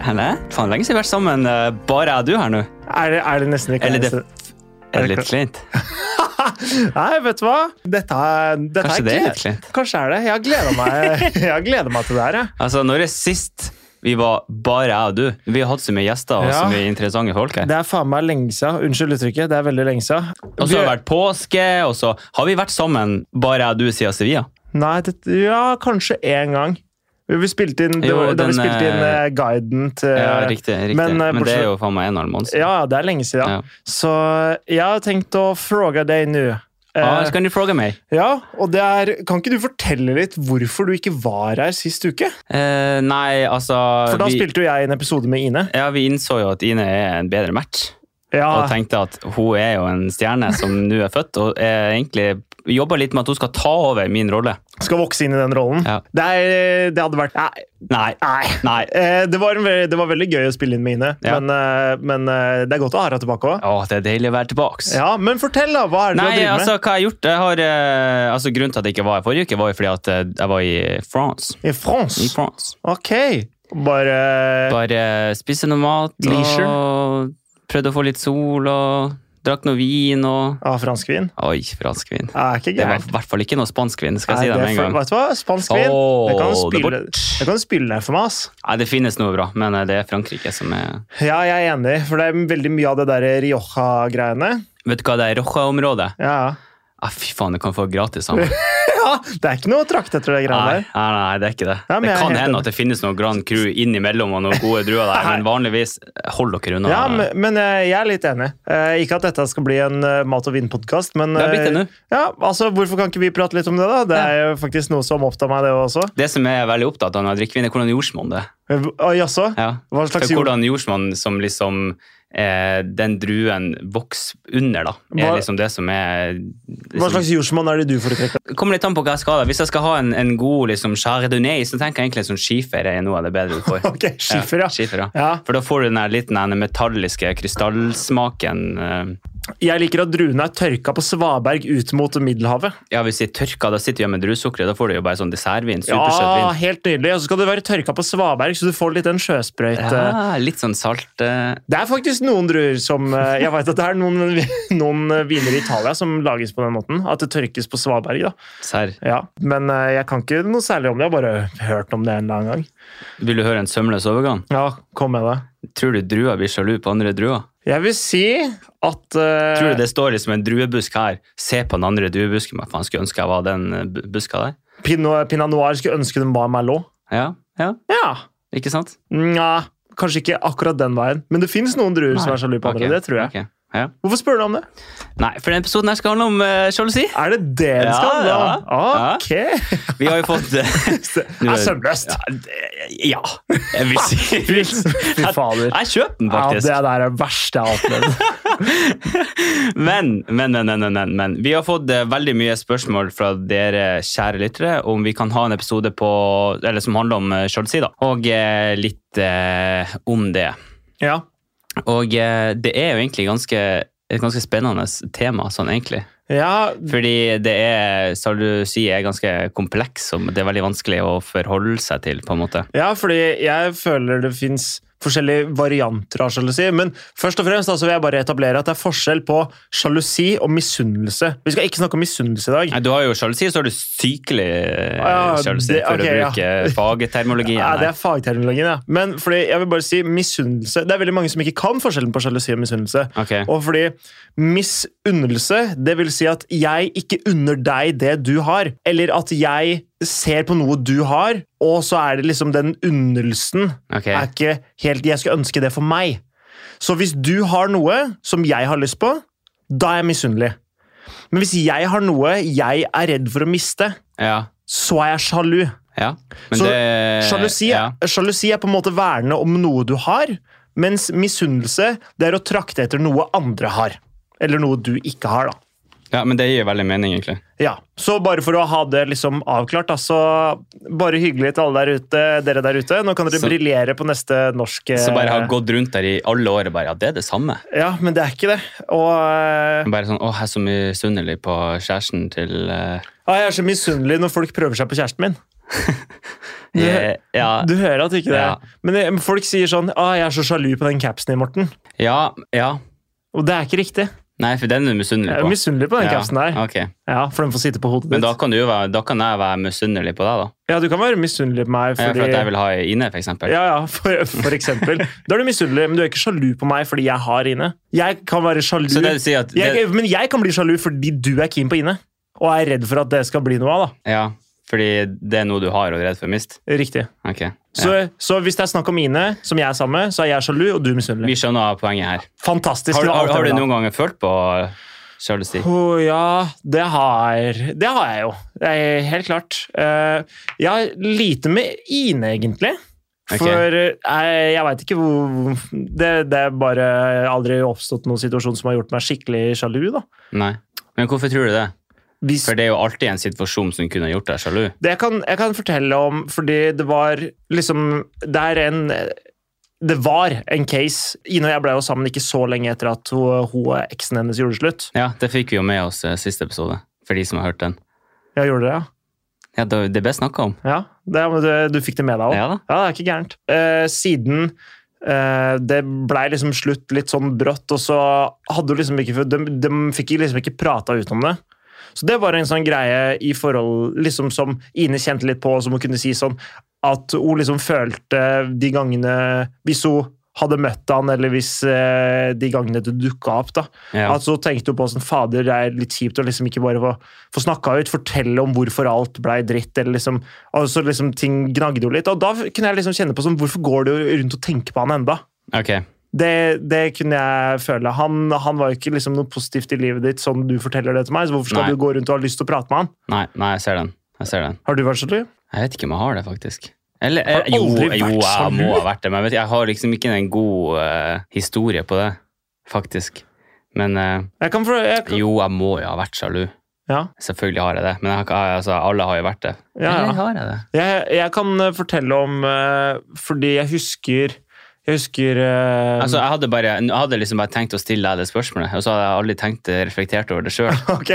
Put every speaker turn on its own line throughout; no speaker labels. Faen, lenge siden vi har vært sammen. eh, Bare jeg og du her nå.
Er det, er det nesten ikke
Eller det
nesten-
er det litt kleint.
Nei, vet du hva? Dette er, dette
Kanskje det er
gled-
litt kleint.
Kanskje er det. Jeg gleder meg, jeg gleder meg til det her. Jeg.
Altså, når det er sist vi var bare jeg og du Vi har hatt så mye gjester og
Ja.
så mye interessante folk her.
Det er faen meg lenge siden. Unnskyld uttrykket. Det er veldig lenge siden.
Og så har det vært påske, og så har vi vært sammen bare jeg og du siden Sevilla.
Nei, det, ja, kanskje én gang. Vi spilte inn, det
Jo,
var- da vi
den,
spilte inn
eh,
eh, guiden til
Ja, riktig. riktig.
Men,
Men,
eh,
det
bortsett-
er jo faen meg en og en halv måned siden.
Ja, det er lenge siden.
Ja.
Så jeg har tenkt å fråge deg nå. Eh,
Ah, så kan du fråge meg.
ja, og det er, Kan ikke du fortelle litt hvorfor du ikke var her sist uke?
Eh, nei, altså
For da
vi,
spilte jo jeg en episode med Ine.
ja, vi innså jo at Ine er en bedre match.
Ja,
Og tenkte at hun er jo en stjerne som nå er født, og er egentlig jobber litt med at hun skal ta over min rolle.
Skal vokse inn i den rollen.
Ja.
Det, er, det hadde vært Nei.
Nei.
nei.
Nei.
Eh, det, var en, ve- det var veldig gøy å spille inn med Ine,
Ja.
men, eh, men eh, det er godt å ha deg tilbake òg.
Å, det er deilig å være tilbake.
Ja, men fortell, da! Hva er det du har
Nei,
drevet
altså, hva jeg har gjort? Jeg har, eh, altså, grunnen til at jeg ikke var her forrige uke, var jo fordi at eh, jeg var i France.
med? I France?
I France.
Ok. Bare
Bare eh, spiste noe mat, og
Leisure.
prøvde å få litt sol, og drakk noe vin, og...
ah, fransk vin?
Oi, fransk vin.
Er ikke
Det var
gærent.
i hvert fall ikke noe spansk vin, skal jeg si
Nei,
det med
er
en gang.
for- Vet du hva? Spansk vin. det kan du
Åh, det er
spille,
bort.
det kan du spille ned for meg, ass.
Nei, det finnes noe bra, men eh, det er Frankrike som er...
Ja, jeg er enig, for det er veldig mye av det der Rioja-greiene.
Vet du hva, det er Roja-området.
Ja.
Ah, fy faen, det kan få gratis sammen. Nei,
ja, Det er ikke noe å trakte etter det
nei,
greiene der.
nei, nei, det er ikke det.
Ja, men
det
jeg er
kan
helt enig.
hende at det finnes noen Grand Cru innimellom og noen gode druer der, men vanligvis, eh, hold dere unna.
Ja, men, men eh, jeg er litt enig. Eh, Ikke at dette skal bli en eh, mat- og vinpodkast, men
Det har blitt det
eh,
nå.
ja, altså, Hvorfor kan ikke vi prate litt om det, da? Det er jo faktisk noe som opptar meg, det også.
Det som jeg er veldig opptatt av når jeg drikker vin, er hvordan jordsmonn det er.
Eh, å, Jaså?
Ja.
Hva
For
slags jord?
hvordan jordsmonn som liksom eh, Den druen vokser under, da.
Hva-
Er liksom det som er
Hva
liksom,
slags jordsmonn er det du foretrekker?
Kommer litt an på hva jeg skal ha. da. Hvis jeg skal ha en, en god liksom, chardonnay, så tenker jeg egentlig sånn skifer er noe av det bedre du får.
Ok, Skifer,
Ja,
ja.
skifer, ja.
Ja.
For da får du den der litt den der metalliske krystallsmaken eh,
Jeg liker at druene er tørka på svaberg ut mot Middelhavet.
Ja, hvis de tørka, da sitter du igjen med druesukkeret. Da får du jo bare sånn dessertvin. Supersøt
Ja,
vin.
helt nydelig. Og så skal det være tørka på svaberg, så du får litt den sjøsprøyte.
Ja, litt sånn salt eh.
Det er faktisk noen druer som eh, Jeg vet at det er noen, noen viner i Italia som lages på den måten. At det tørkes på svaberg. da.
serr.
Ja, Men eh, jeg kan ikke noe særlig om det. Jeg har bare hørt om det en eller annen gang.
Vil du høre en sømløs overgang?
Ja, kom med det.
Tror du druer blir sjalu på andre druer?
Jeg vil si at eh,
Tror du det står liksom en druebusk her? Se på den andre druebusken. Hva faen skulle ønske jeg var den eh, bu- buska der?
Pinot, Pinot noir skulle ønske den var Merlot.
Ja, ja,
Ja.
ikke sant?
Nja, kanskje ikke akkurat den veien. Men det fins noen druer som
Nei.
er sjalu på andre.
Ok,
Det tror jeg.
ok, Ja.
Hvorfor spør du om det?
Nei, for denne episoden her skal handle om eh, sjalusi.
Er det det det
Ja,
skal handle om?
ja.
Ok!
Vi har jo fått eh,
Det er sømløst.
Ja, det- ja. Jeg vil si vil-
Fy fader.
Jeg kjøper den
Ja, det
faktisk.
der er det verste jeg har opplevd.
Men, men, men, men, men, men, men. Vi har fått eh, veldig mye spørsmål fra dere kjære lyttere om vi kan ha en episode på, eller som handler om eh, sjalusi, da. Og eh, litt eh, om det.
Ja.
Og eh, det er jo egentlig ganske, et ganske spennende tema, sånn egentlig.
ja,
Fordi det er, sjalusi er ganske kompleks, og det er veldig vanskelig å forholde seg til, på en måte.
ja, fordi jeg føler det fins forskjellige varianter av sjalusi. Men først og fremst altså, vil jeg bare etablere at det er forskjell på sjalusi og misunnelse. Vi skal ikke snakke om misunnelse i dag.
Nei, Du har jo sjalusi, og så har du sykelig eh,
Ah, Ja,
sjalusi,
det-
for
ok,
å
ja.
bruke fagtermologien.
Ja, det
her.
er fagterminologien, ja. Men fordi jeg vil bare si misunnelse Det er veldig mange som ikke kan forskjellen på sjalusi og misunnelse.
Ok.
Og fordi misunnelse, det vil si at jeg ikke unner deg det du har, eller at jeg ser på noe du har, og så er det liksom den unnelsen
Ok.
er ikke helt Jeg skulle ønske det for meg. Så hvis du har noe som jeg har lyst på, da er jeg misunnelig. Men hvis jeg har noe jeg er redd for å miste,
Ja,
så er jeg sjalu.
ja. Men
Så
det-
Sjalusi,
Eh, ja.
sjalusi er på en måte verne om noe du har, mens misunnelse det er å trakte etter noe andre har. Eller noe du ikke har, da.
ja, men det gir veldig mening, egentlig.
Ja, Så bare for å ha det liksom avklart, da, så bare hyggelig til alle der ute, dere der ute. Nå kan dere
Så-
briljere på neste norsk eh,
Så bare har gått rundt der i alle år og bare Ja, det er det samme.
Ja, men det er ikke det. Og eh,
Bare sånn Å, jeg er så misunnelig på kjæresten til eh,
ah, jeg er så misunnelig når folk prøver seg på kjæresten min. Du,
Eh, ja,
du hører at ikke det
Ja.
Men det, men folk sier sånn ah, 'Jeg er så sjalu på den capsen din, Morten'.
ja, ja.
Og det er ikke riktig.
Nei, for den er du misunnelig
Jeg er
på.
misunnelig på den
Ja,
capsen der.
ok.
Ja, For den får sitte på hodet
Men
ditt.
da kan, du jo være, da kan jeg være misunnelig på deg, da.
Ja, du kan være misunnelig på meg
Ja,
fordi
For at jeg vil ha Ine, for eksempel.
Ja, ja, for, for eksempel. Da er du misunnelig, men du er ikke sjalu på meg fordi jeg har Ine. Jeg kan være sjalu,
Så det vil si at det,
jeg, men jeg kan bli sjalu fordi du er keen på Ine. Og er redd for at det skal bli noe av, da.
Ja, fordi det er noe du har og er redd for å miste?
Riktig.
Ok.
Så,
Ja.
så hvis det er snakk om Ine, som jeg er sammen med, så er jeg sjalu, og du misunnelig.
Vi skjønner poenget her.
Fantastisk.
Har,
det var
har,
alt
har
jeg ville
du
ha.
noen ganger følt på sjalusi?
Å ja, det har Det har jeg jo. Det er helt klart. Eh, jeg har lite med Ine, egentlig.
Ok.
For eh, jeg, jeg veit ikke hvor det, det er bare aldri oppstått noen situasjon som har gjort meg skikkelig sjalu, da.
Nei. Men hvorfor tror du det?
Hvis,
For det er jo alltid en situasjon som kunne gjort deg sjalu.
det jeg kan, jeg kan fortelle om, fordi det var liksom Det er en det var en case. Ine og jeg ble jo sammen ikke så lenge etter at hun, hun eksen hennes gjorde slutt.
Ja, det fikk vi jo med oss eh, siste episode, for de som har hørt den.
Ja, gjorde det, ja.
Ja, det, det ble snakka om.
ja det, men du, du fikk det med deg òg?
Ja da.
Ja, det er ikke gærent. Eh, siden eh, det blei liksom slutt litt sånn brått, og så hadde hun liksom ikke De, de fikk liksom ikke prata ut om det. Så det var en sånn greie i forhold liksom som Ine kjente litt på, som hun kunne si sånn at hun liksom følte de gangene Hvis hun hadde møtt han, eller hvis eh, de gangene det dukka opp, da.
Ja.
At så tenkte hun på sånn, fader, det er litt kjipt å liksom ikke bare få, få snakka ut, fortelle om hvorfor alt blei dritt, eller liksom, og så liksom ting gnagde jo litt. Og da kunne jeg liksom kjenne på sånn, hvorfor går du rundt og tenker på han enda?
Ok.
Det, det kunne jeg føle. Han, han var jo ikke liksom noe positivt i livet ditt, sånn du forteller det til meg, så hvorfor skal
Nei.
du gå rundt og ha lyst til å prate med han?
Nei, nei, jeg ser den. Jeg ser den.
Har du vært sjalu?
Jeg vet ikke om jeg har det, faktisk. Eller, eh,
Har du
jo, jo,
aldri vært
jeg
sjalu?
må ha vært det, men jeg, vet, jeg har liksom ikke en god eh, historie på det, faktisk. Men eh,
Jeg kan, for- jeg kan,
jo, jeg må jo ha vært sjalu.
ja.
Selvfølgelig har jeg det, men jeg, har ikke- altså, alle har jo vært det.
Ja, ja.
Eller har jeg det?
Jeg, jeg kan eh, fortelle om eh, Fordi jeg husker Jeg husker eh,
Altså, jeg hadde, bare, jeg hadde liksom bare tenkt å stille deg det spørsmålet, og så hadde jeg aldri tenkt eh, reflektert over det sjøl.
Ok,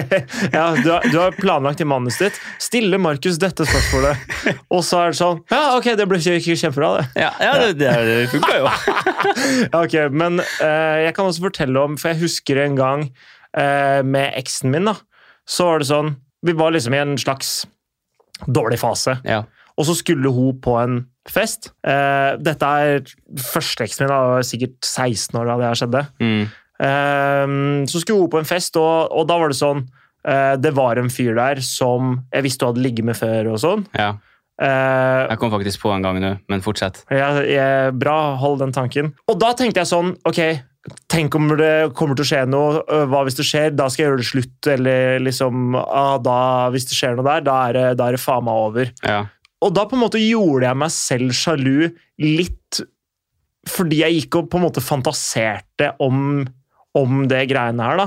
ja, du, har, du har planlagt i manuset ditt. Stille Markus dette spørsmålet. Og så er det sånn Ja, ok, det ble ikke ikke kjempebra, det.
Ja, ja, det, det, det funka jo.
Ja, ok, Men eh, jeg kan også fortelle om, for jeg husker en gang eh, med eksen min, da. Så var det sånn Vi var liksom i en slags dårlig fase.
Ja.
Og så skulle hun på en fest. Eh, dette er første eksen min, da. jeg var Sikkert 16 år da det her skjedde.
Mm.
Ehm, Så skulle hun på en fest, og, og da var det sånn eh, Det var en fyr der som jeg visste hun hadde ligget med før og sånn.
ja.
Eh,
Jeg kom faktisk på en gang nå, men fortsett.
jeg, jeg, bra, hold den tanken. Og da tenkte jeg sånn Ok, tenk om det kommer til å skje noe. øh, Hva hvis det skjer? Da skal jeg gjøre det slutt. Eller liksom ah, da, Hvis det skjer noe der, da er det, da er det faen meg over.
Ja.
Og da på en måte gjorde jeg meg selv sjalu litt fordi jeg gikk og på en måte fantaserte om, om det greiene her, da.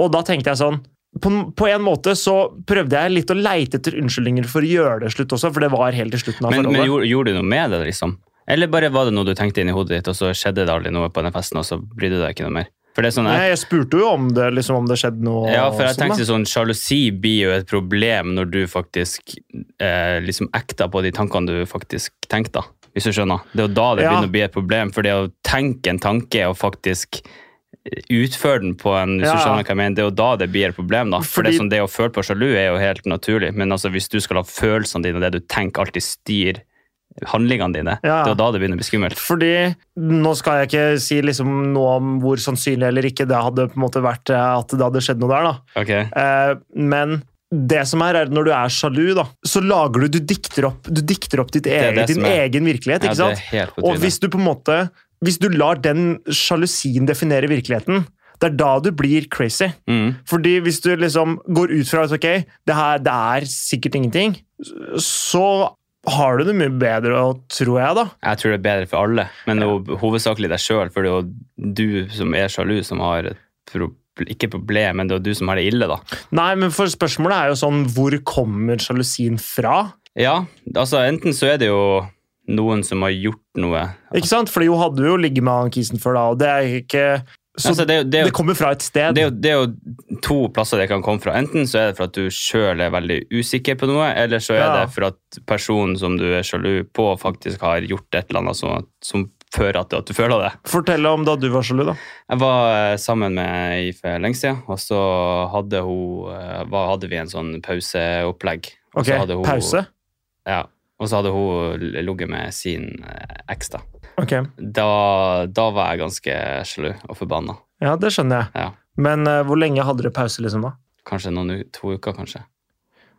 Og da tenkte jeg sånn på, på en måte så prøvde jeg litt å leite etter unnskyldninger for å gjøre det slutt også, for det var helt til slutten av
Men, men
forholdet.
gjorde, gjorde du noe med det, liksom? Eller bare var det noe du tenkte inn i hodet ditt, og så skjedde det aldri noe på den festen, og så brydde du deg ikke noe mer? For det er sånn,
Nei,
jeg,
jeg spurte jo om det, liksom, om det skjedde noe.
ja, for jeg
og sånn, da.
tenkte sånn, sjalusi blir jo et problem når du faktisk eh, liksom ekter på de tankene du faktisk tenkte, da, hvis du skjønner. Det er jo da det
Ja.
begynner å bli et problem, for det å tenke en tanke og faktisk eh, utføre den på en, hvis
Ja, ja.
du skjønner hva jeg mener, det er jo da det blir et problem, da. For det,
Fordi-
som det å føle på sjalu er jo helt naturlig, men altså, hvis du skal la følelsene dine og det du tenker alltid styr handlingene dine,
Ja.
det er jo da det begynner å bli skummelt.
Fordi Nå skal jeg ikke si liksom noe om hvor sannsynlig eller ikke det hadde på en måte vært eh, at det hadde skjedd noe der. da.
Ok,
Eh, men det som er, er at når du er sjalu, da, så lager du Du dikter opp, du dikter opp ditt
er
eget,
det
din
som er-
egen virkelighet. ikke
ja, det
sant?
er helt på
Og
trynet.
hvis du på en måte Hvis du lar den sjalusien definere virkeligheten, det er da du blir crazy.
Mm.
Fordi hvis du liksom går ut fra at ok, det her det er sikkert ingenting, så har du det mye bedre, tror jeg, da.
Jeg tror det er bedre for alle, men det er jo hovedsakelig deg sjøl. For det er jo du som er sjalu, som har et proble- ikke problem, men det er jo du som har det ille, da.
Nei, men for spørsmålet er jo sånn Hvor kommer sjalusien fra?
Ja, altså enten så er det jo noen som har gjort noe.
Ikke sant? Fordi hun hadde jo ligget med han kisen før, da, og det er ikke Så
Altså, det, er jo- det, er jo-
det kommer fra et sted.
Det er, jo, det er jo to plasser det kan komme fra. Enten så er det for at du sjøl er veldig usikker på noe, eller så er
Ja.
det for at personen som du er sjalu på, faktisk har gjort et eller annet som, som fører til at du føler det.
Fortell om da du var sjalu, da.
Jeg var eh, sammen med ei for lenge siden, og så hadde, hun, eh, hva- hadde vi en sånn pauseopplegg. Og
Ok,
så hadde hun-
Pause?
Ja. Og så hadde hun ligget med sin eh, eks, da.
Ok,
da. Da var jeg ganske sjalu og forbanna.
Ja, det skjønner jeg.
Ja.
Men eh, hvor lenge hadde dere pause, liksom? da?
Kanskje noen u- to uker, kanskje.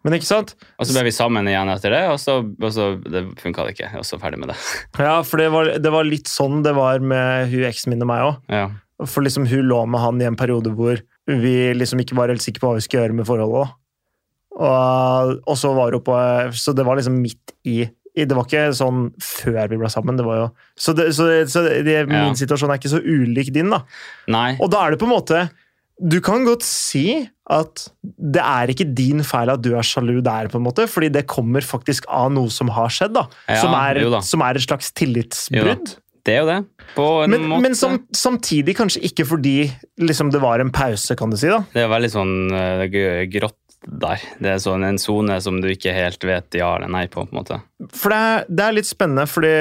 Men ikke sant?
Og så ble vi sammen igjen etter det, og så, og så det funka det ikke. Og så ferdig med det.
Ja, for det var, det var litt sånn det var med hun eksen min og meg òg.
Ja,
For liksom hun lå med han i en periode hvor vi liksom ikke var helt sikre på hva vi skulle gjøre med forholdet. da. Og, og så var hun på Så det var liksom midt i, i Det var ikke sånn før vi ble sammen. det var jo... Så, det, så, så det,
Ja.
min situasjon er ikke så ulik din, da.
Nei,
Og da er det på en måte Du kan godt si at det er ikke din feil at du er sjalu der, på en måte, fordi det kommer faktisk av noe som har skjedd, da.
Ja,
som, er,
jo da.
som er et slags
Jo
tillitsbrudd.
det er jo det. På en
Men,
måte.
men sam, samtidig kanskje ikke fordi liksom, det var en pause, kan du si. da.
Det er veldig sånn eh, gr- grått der. Det er sånn en sone som du ikke helt vet ja eller nei på, på en måte.
For det er, det er litt spennende, fordi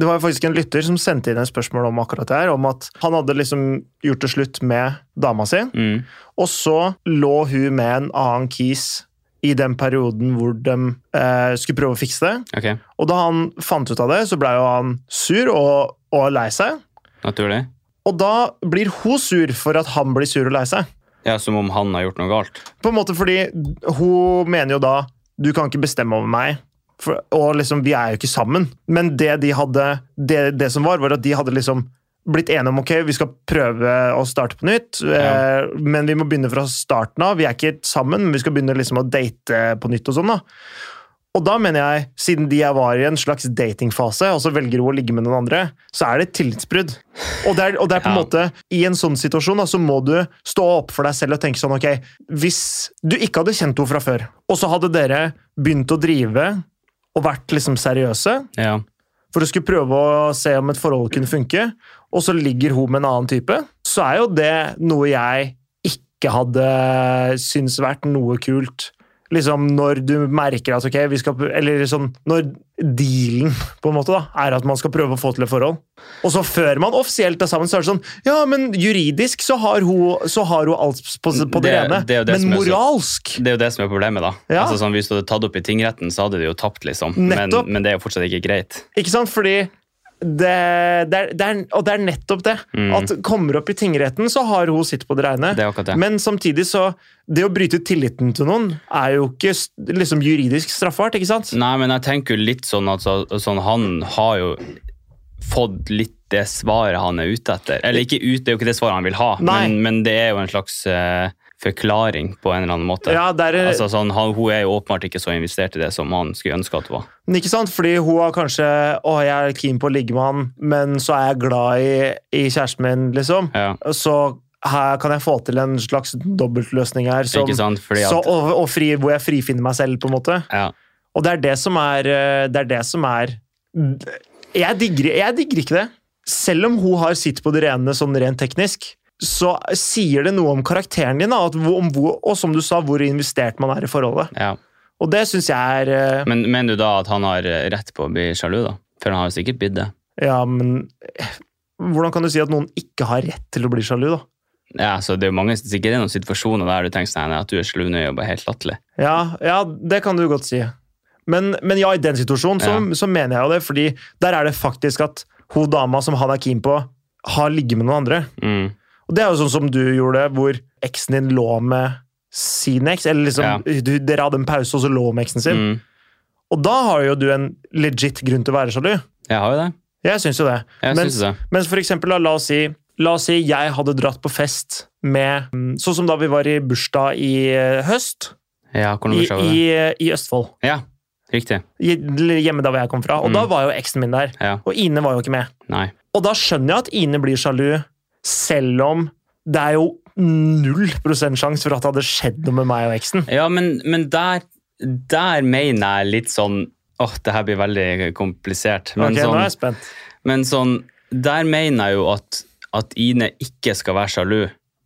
det var jo faktisk en lytter som sendte inn et spørsmål om akkurat det her, om at han hadde liksom gjort det slutt med dama si,
Mm.
og så lå hun med en annen kis i den perioden hvor de eh, skulle prøve å fikse det.
Ok,
Og da han fant ut av det, så ble jo han sur og, og lei seg.
naturlig.
Og da blir hun sur for at han blir sur og lei seg.
Ja, Som om han har gjort noe galt.
På en måte fordi hun mener jo da Du kan ikke bestemme over meg. For, og liksom, vi er jo ikke sammen. Men det de hadde Det, det som var, var at de hadde liksom blitt enige om ok, vi skal prøve å starte på nytt,
Ja.
eh, men vi må begynne fra starten av. Vi er ikke sammen, men vi skal begynne liksom å date på nytt. Og sånn da. Og da mener jeg, siden de jeg var i en slags datingfase, og så velger hun å ligge med noen andre, så er det et tillitsbrudd. Og det er, og det er på en
Ja.
måte, i en sånn situasjon da, så må du stå opp for deg selv og tenke sånn, ok, hvis du ikke hadde kjent henne fra før, og så hadde dere begynt å drive og vært liksom seriøse,
Ja.
for å skulle prøve å se om et forhold kunne funke, og så ligger hun med en annen type, så er jo det noe jeg ikke hadde syntes vært noe kult. Liksom når du merker at ok, vi skal Eller sånn Når dealen på en måte da, er at man skal prøve å få til et forhold. Og så før man offisielt er sammen, så er det sånn Ja, men juridisk så har hun, så har hun alt på, på det,
Det-
rene.
det er jo det som
men
er så-
moralsk
Det er jo det som er problemet, da.
Ja.
Altså sånn, Hvis du hadde tatt opp i tingretten, så hadde du jo tapt, liksom. Men,
Nettopp.
men det er jo fortsatt ikke greit.
Ikke sant? Fordi det, det, er, det er, Og det er nettopp det.
Mm.
At kommer opp i tingretten, så har hun sitt på det reine.
Det er akkurat det.
Men samtidig så Det å bryte tilliten til noen er jo ikke s- liksom juridisk straffbart, ikke sant?
Nei, men jeg tenker jo litt sånn at så- sånn, han har jo fått litt det svaret han er ute etter. Eller ikke ut, det er jo ikke det svaret han vil ha,
Nei.
men, men det er jo en slags eh, forklaring på en eller annen måte.
Ja, det er,
Altså, sånn, han, hun er jo åpenbart ikke så investert i det som han skulle ønske at hun var.
men ikke sant? Fordi hun har kanskje Å, jeg er keen på å ligge med han, men så er jeg glad i, i kjæresten min, liksom.
Ja,
Så her kan jeg få til en slags dobbeltløsning her. Som,
ikke sant? Fordi
så,
at,
og og fri, hvor jeg frifinner meg selv, på en måte.
ja.
Og det er det som er eh, Det er det som er Jeg digger, jeg digger ikke det. Selv om hun har sitt på det rene sånn rent teknisk, så sier det noe om karakteren din, da, at hvor, om hvor, og som du sa, hvor investert man er i forholdet.
ja.
Og det syns jeg er eh,
Men mener du da at han har eh, rett på å bli sjalu, da? For han har jo sikkert blitt det.
Ja, men eh, hvordan kan du si at noen ikke har rett til å bli sjalu, da?
Ja, så det er jo mange, sikkert noen situasjoner der du tenker sånn, at du er sjalu nå, er jo bare helt latterlig.
Ja, ja det kan du godt si. Men, men ja, i den situasjonen så, så mener jeg jo det, fordi der er det faktisk at hun dama som han er keen på, har ligget med noen andre.
Mm.
Og det er jo sånn som du gjorde, hvor eksen din lå med sin eks. Eller liksom, du, dere hadde en pause, og så lå hun med eksen sin.
Mm.
Og da har jo du en legit grunn til å være sjalu.
Jeg har jo det.
Jeg syns jo det.
Jeg
Men-
synes det.
Mens for eksempel, da, la oss si La oss si jeg hadde dratt på fest med mm, Sånn som da vi var i bursdag i eh, høst,
Ja, hvordan
i,
blir showet?
i, i Østfold.
Ja, riktig.
I- Hjemme der hvor jeg kom fra. Og
Mm.
da var jo eksen min der.
Ja.
Og Ine var jo ikke med.
Nei.
Og da skjønner jeg at Ine blir sjalu, selv om det er jo null prosent sjanse for at det hadde skjedd noe med meg og eksen.
Ja, men, men der, der mener jeg litt sånn Åh, det her blir veldig komplisert. Men,
Ok, nå er jeg
sånn,
spent.
men sånn Der mener jeg jo at at Ine ikke skal være sjalu.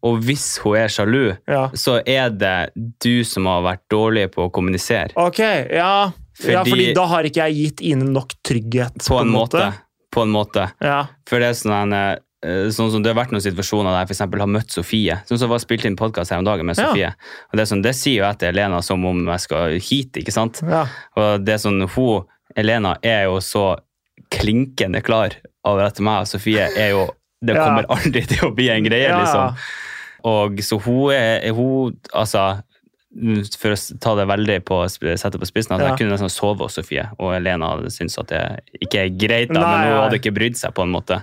Og hvis hun er sjalu,
Ja.
så er det du som har vært dårlig på å kommunisere.
Ok, ja. Fordi, ja,
Fordi-
fordi da har ikke jeg gitt Ine nok trygghet.
På en måte. På en måte.
Ja.
For det er sånn, en, eh, sånn som det har vært noen situasjoner der jeg for eksempel har møtt Sofie. Sånn som jeg spilt inn podkast her om dagen med
Ja.
Sofie. Og det, er sånn, det sier jo jeg til Elena som om jeg skal hit, ikke sant?
ja.
Og det er sånn, hun, Elena, er jo så klinkende klar over at meg og Sofie er jo Det
Ja.
kommer aldri til å bli en greie,
Ja.
liksom. Og så hun er er hun, altså for å s- ta det veldig på, sp- sette på spissen, at
Ja.
jeg kunne nesten sove hos Sofie, og Elena hadde syntes at det ikke er greit, da,
Nei,
men hun
nei.
hadde ikke brydd seg, på en måte.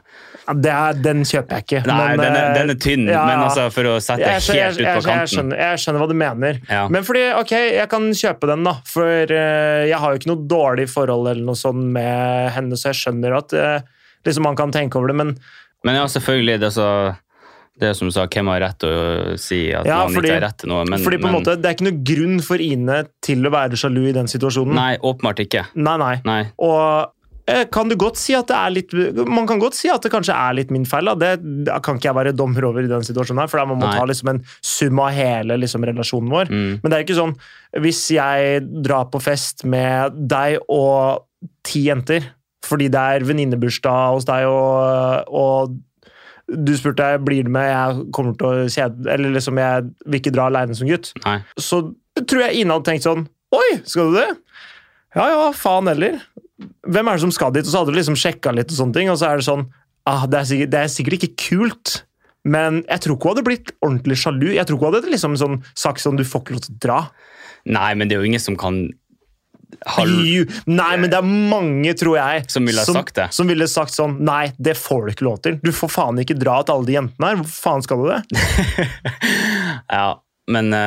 Ja, Det er, den kjøper jeg ikke.
Nei,
men,
den, er,
eh,
den er tynn,
ja,
men
ja.
altså for å sette
jeg, skjø-
helt ut
jeg,
på
jeg, jeg,
kanten.
skjønner, jeg skjønner hva du mener.
Ja.
Men fordi, ok, jeg kan kjøpe den, da. For eh, jeg har jo ikke noe dårlig forhold eller noe sånn med henne, så jeg skjønner at eh, liksom man kan tenke over det. Men
Men ja, selvfølgelig, det er så det er som du sa, hvem har rett til å si at
Ja,
man
fordi-
ikke har rett til noe? Men,
fordi på en
men,
måte, det er ikke noe grunn for Ine til å være sjalu i den situasjonen.
Nei, åpenbart ikke.
nei. nei.
Nei.
Og eh, kan du godt si at det er litt Man kan godt si at det kanskje er litt min feil. Da. Det da kan ikke jeg være dommer over i den situasjonen her, for da må man
Nei.
ta liksom en sum av hele liksom, relasjonen vår.
Mm.
Men det er jo ikke sånn hvis jeg drar på fest med deg og ti jenter fordi det er venninnebursdag hos deg, og, og du spurte jeg blir det med, jeg kommer til å kjede Eller liksom, jeg vil ikke dra alene som gutt
Nei.
så tror jeg Ine hadde tenkt sånn Oi, skal du det? Ja ja, faen heller. Hvem er det som skal dit? Og så hadde du liksom sjekka litt, og sånne ting, og så er det sånn ah, det, er sikkert, det er sikkert ikke kult, men jeg tror ikke hun hadde blitt ordentlig sjalu. Jeg tror ikke hun hadde liksom sånn, sagt sånn Du får ikke lov til å dra.
Nei, men det er jo ingen som kan ha
Jo, Nei, men det er mange, tror jeg,
Som ville ha sagt det.
Som ville sagt sånn Nei, det får du ikke lov til. Du får faen ikke dra til alle de jentene her. Hvor faen skal du det?
Ja, men eh,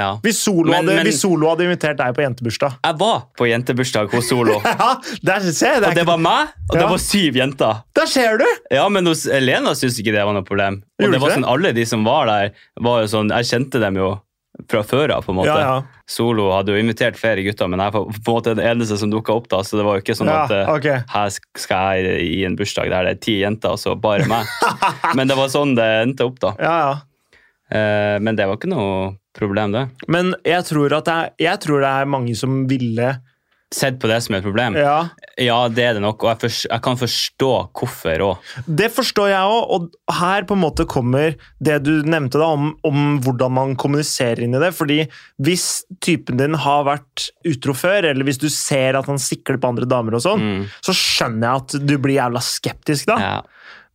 ja.
Hvis Solo,
Men-
hadde,
men-
hvis solo hadde invitert deg på jentebursdag
Jeg var på jentebursdag hos Solo,
Ja, der, se, det er
og det
ikke-
var meg, og det
Ja.
var syv jenter.
Der ser du!
Ja, men hos Elena syntes ikke det var noe problem. Og
Gjorde
det
ikke
var
det?
sånn, alle de som var der, var jo sånn, jeg kjente dem jo fra før av, på en måte.
Ja, ja.
Solo hadde jo invitert flere gutter, men jeg var på en måte den eneste som dukket opp da, så det var jo ikke sånn at eh,
Ja, ok.
her sk- skal jeg i en bursdag der det er ti jenter, og så bare meg. men det var sånn det endte opp da.
Ja, ja.
Eh, men det var ikke noe problem det.
Men jeg tror, at det er, jeg tror det er mange som ville
Sett på det som et problem.
Ja,
Ja, det er det nok, og jeg, fors- jeg kan forstå hvorfor også.
Det forstår jeg òg, og her på en måte kommer det du nevnte da, om, om hvordan man kommuniserer inn i det. Fordi hvis typen din har vært utro før, eller hvis du ser at han sikler på andre damer, og sånn,
Mm.
så skjønner jeg at du blir jævla skeptisk da.
Ja.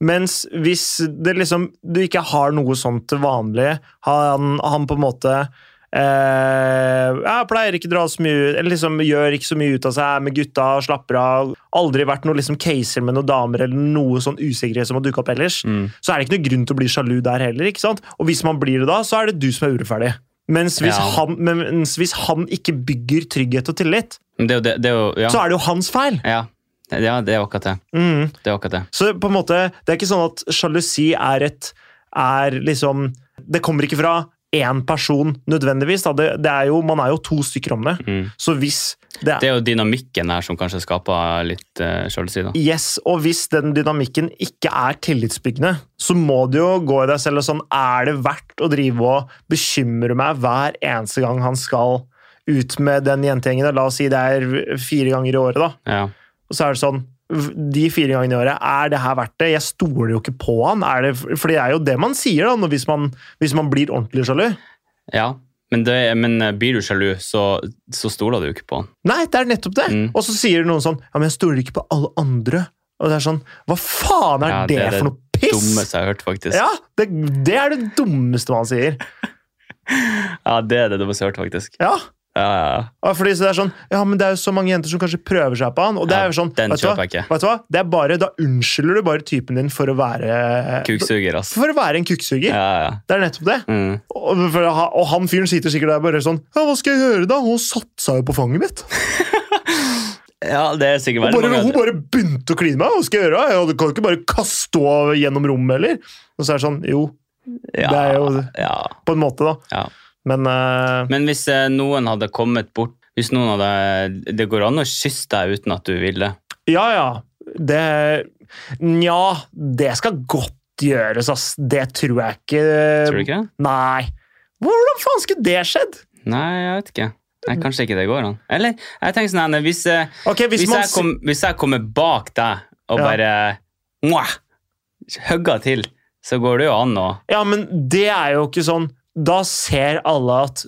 Mens hvis det liksom, du ikke har noe sånt til vanlig, han, han på en måte eh, jeg pleier ikke å dra så mye ut, eller liksom gjør ikke så mye ut av seg er med gutta, slapper av. Aldri vært noe liksom caser med noen damer eller noe sånn usikkerhet som har dukket opp ellers.
Mm.
Så er det ikke noe grunn til å bli sjalu der heller, ikke sant? Og hvis man blir det da, så er det du som er urettferdig. Mens hvis,
Ja.
han, mens hvis han ikke bygger trygghet og tillit,
Men det, er jo det, det er jo, ja.
så er det jo hans feil.
Ja. ja, det er akkurat det.
Mhm.
Det er akkurat det.
Så på en måte, det er ikke sånn at sjalusi er et er liksom, Det kommer ikke fra én person nødvendigvis. Da. Det, det er jo, man er jo to stykker om det.
Mm.
Så hvis det,
Det er jo dynamikken her som kanskje skaper litt uh, sjalusi, da.
Yes, og hvis den dynamikken ikke er tillitsbyggende, så må du jo gå i deg selv og sånn Er det verdt å drive og bekymre meg hver eneste gang han skal ut med den jentegjengen? La oss si det er fire ganger i året, da.
Ja.
Og så er det sånn v- De fire gangene i året, er det her verdt det? Jeg stoler jo ikke på han. Er det, for det er jo det man sier da, når, hvis, man, hvis man blir ordentlig sjalu.
ja. Men, det, men eh, blir du sjalu, så, så stoler du jo ikke på han.
Nei, det er nettopp det!
Mm.
Og så sier noen sånn Ja, men jeg stoler ikke på alle andre. Og det er sånn Hva faen er
Ja,
det,
det er det
for noe piss?!
Dummeste jeg har hørt, faktisk.
Ja, det, det er det dummeste man sier.
Ja, det er det dummeste jeg har hørt, faktisk.
Ja,
Ja, ja, ja.
og fordi så det er sånn, ja, men det er jo så mange jenter som kanskje prøver seg på han. Og det
Ja,
er jo sånn,
den
vet du, hva?
kjøper jeg ikke.
vet du hva? Det er bare, Da unnskylder du bare typen din for å være
Kuksuger, ass.
For å være en kukksuger.
Ja, ja.
Det er nettopp det.
Mm.
Og, for, han- og han fyren sitter sikkert der bare sånn Ja, hva skal jeg gjøre, da? Hun satsa jo på fanget mitt.
ja, det er
Hun
sikkert veldig
bare, hun
mange
bare begynte å kline meg. Hva skal jeg gjøre? Jeg kan jo ikke bare kaste henne gjennom rommet, eller? Og så er det sånn Jo, det er
ja,
jo
ja,
på en måte, da.
ja.
Men eh,
Men hvis eh, noen hadde kommet bort Hvis noen hadde eh, Det går an å kysse deg uten at du vil det.
ja, ja. Det Nja, det skal godt gjøres, ass. Det tror jeg ikke.
Tror du ikke det?
Nei. Hvordan faen skulle det skjedd?
Nei, jeg vet ikke. Nei, kanskje ikke det går an. Eller, jeg tenker sånn, Anne, hvis, eh,
Ok, hvis,
hvis,
man...
jeg kom, hvis jeg kommer bak deg og
Ja.
bare mwah, hugger til, så går det jo an å
Ja, men det er jo ikke sånn Da ser alle at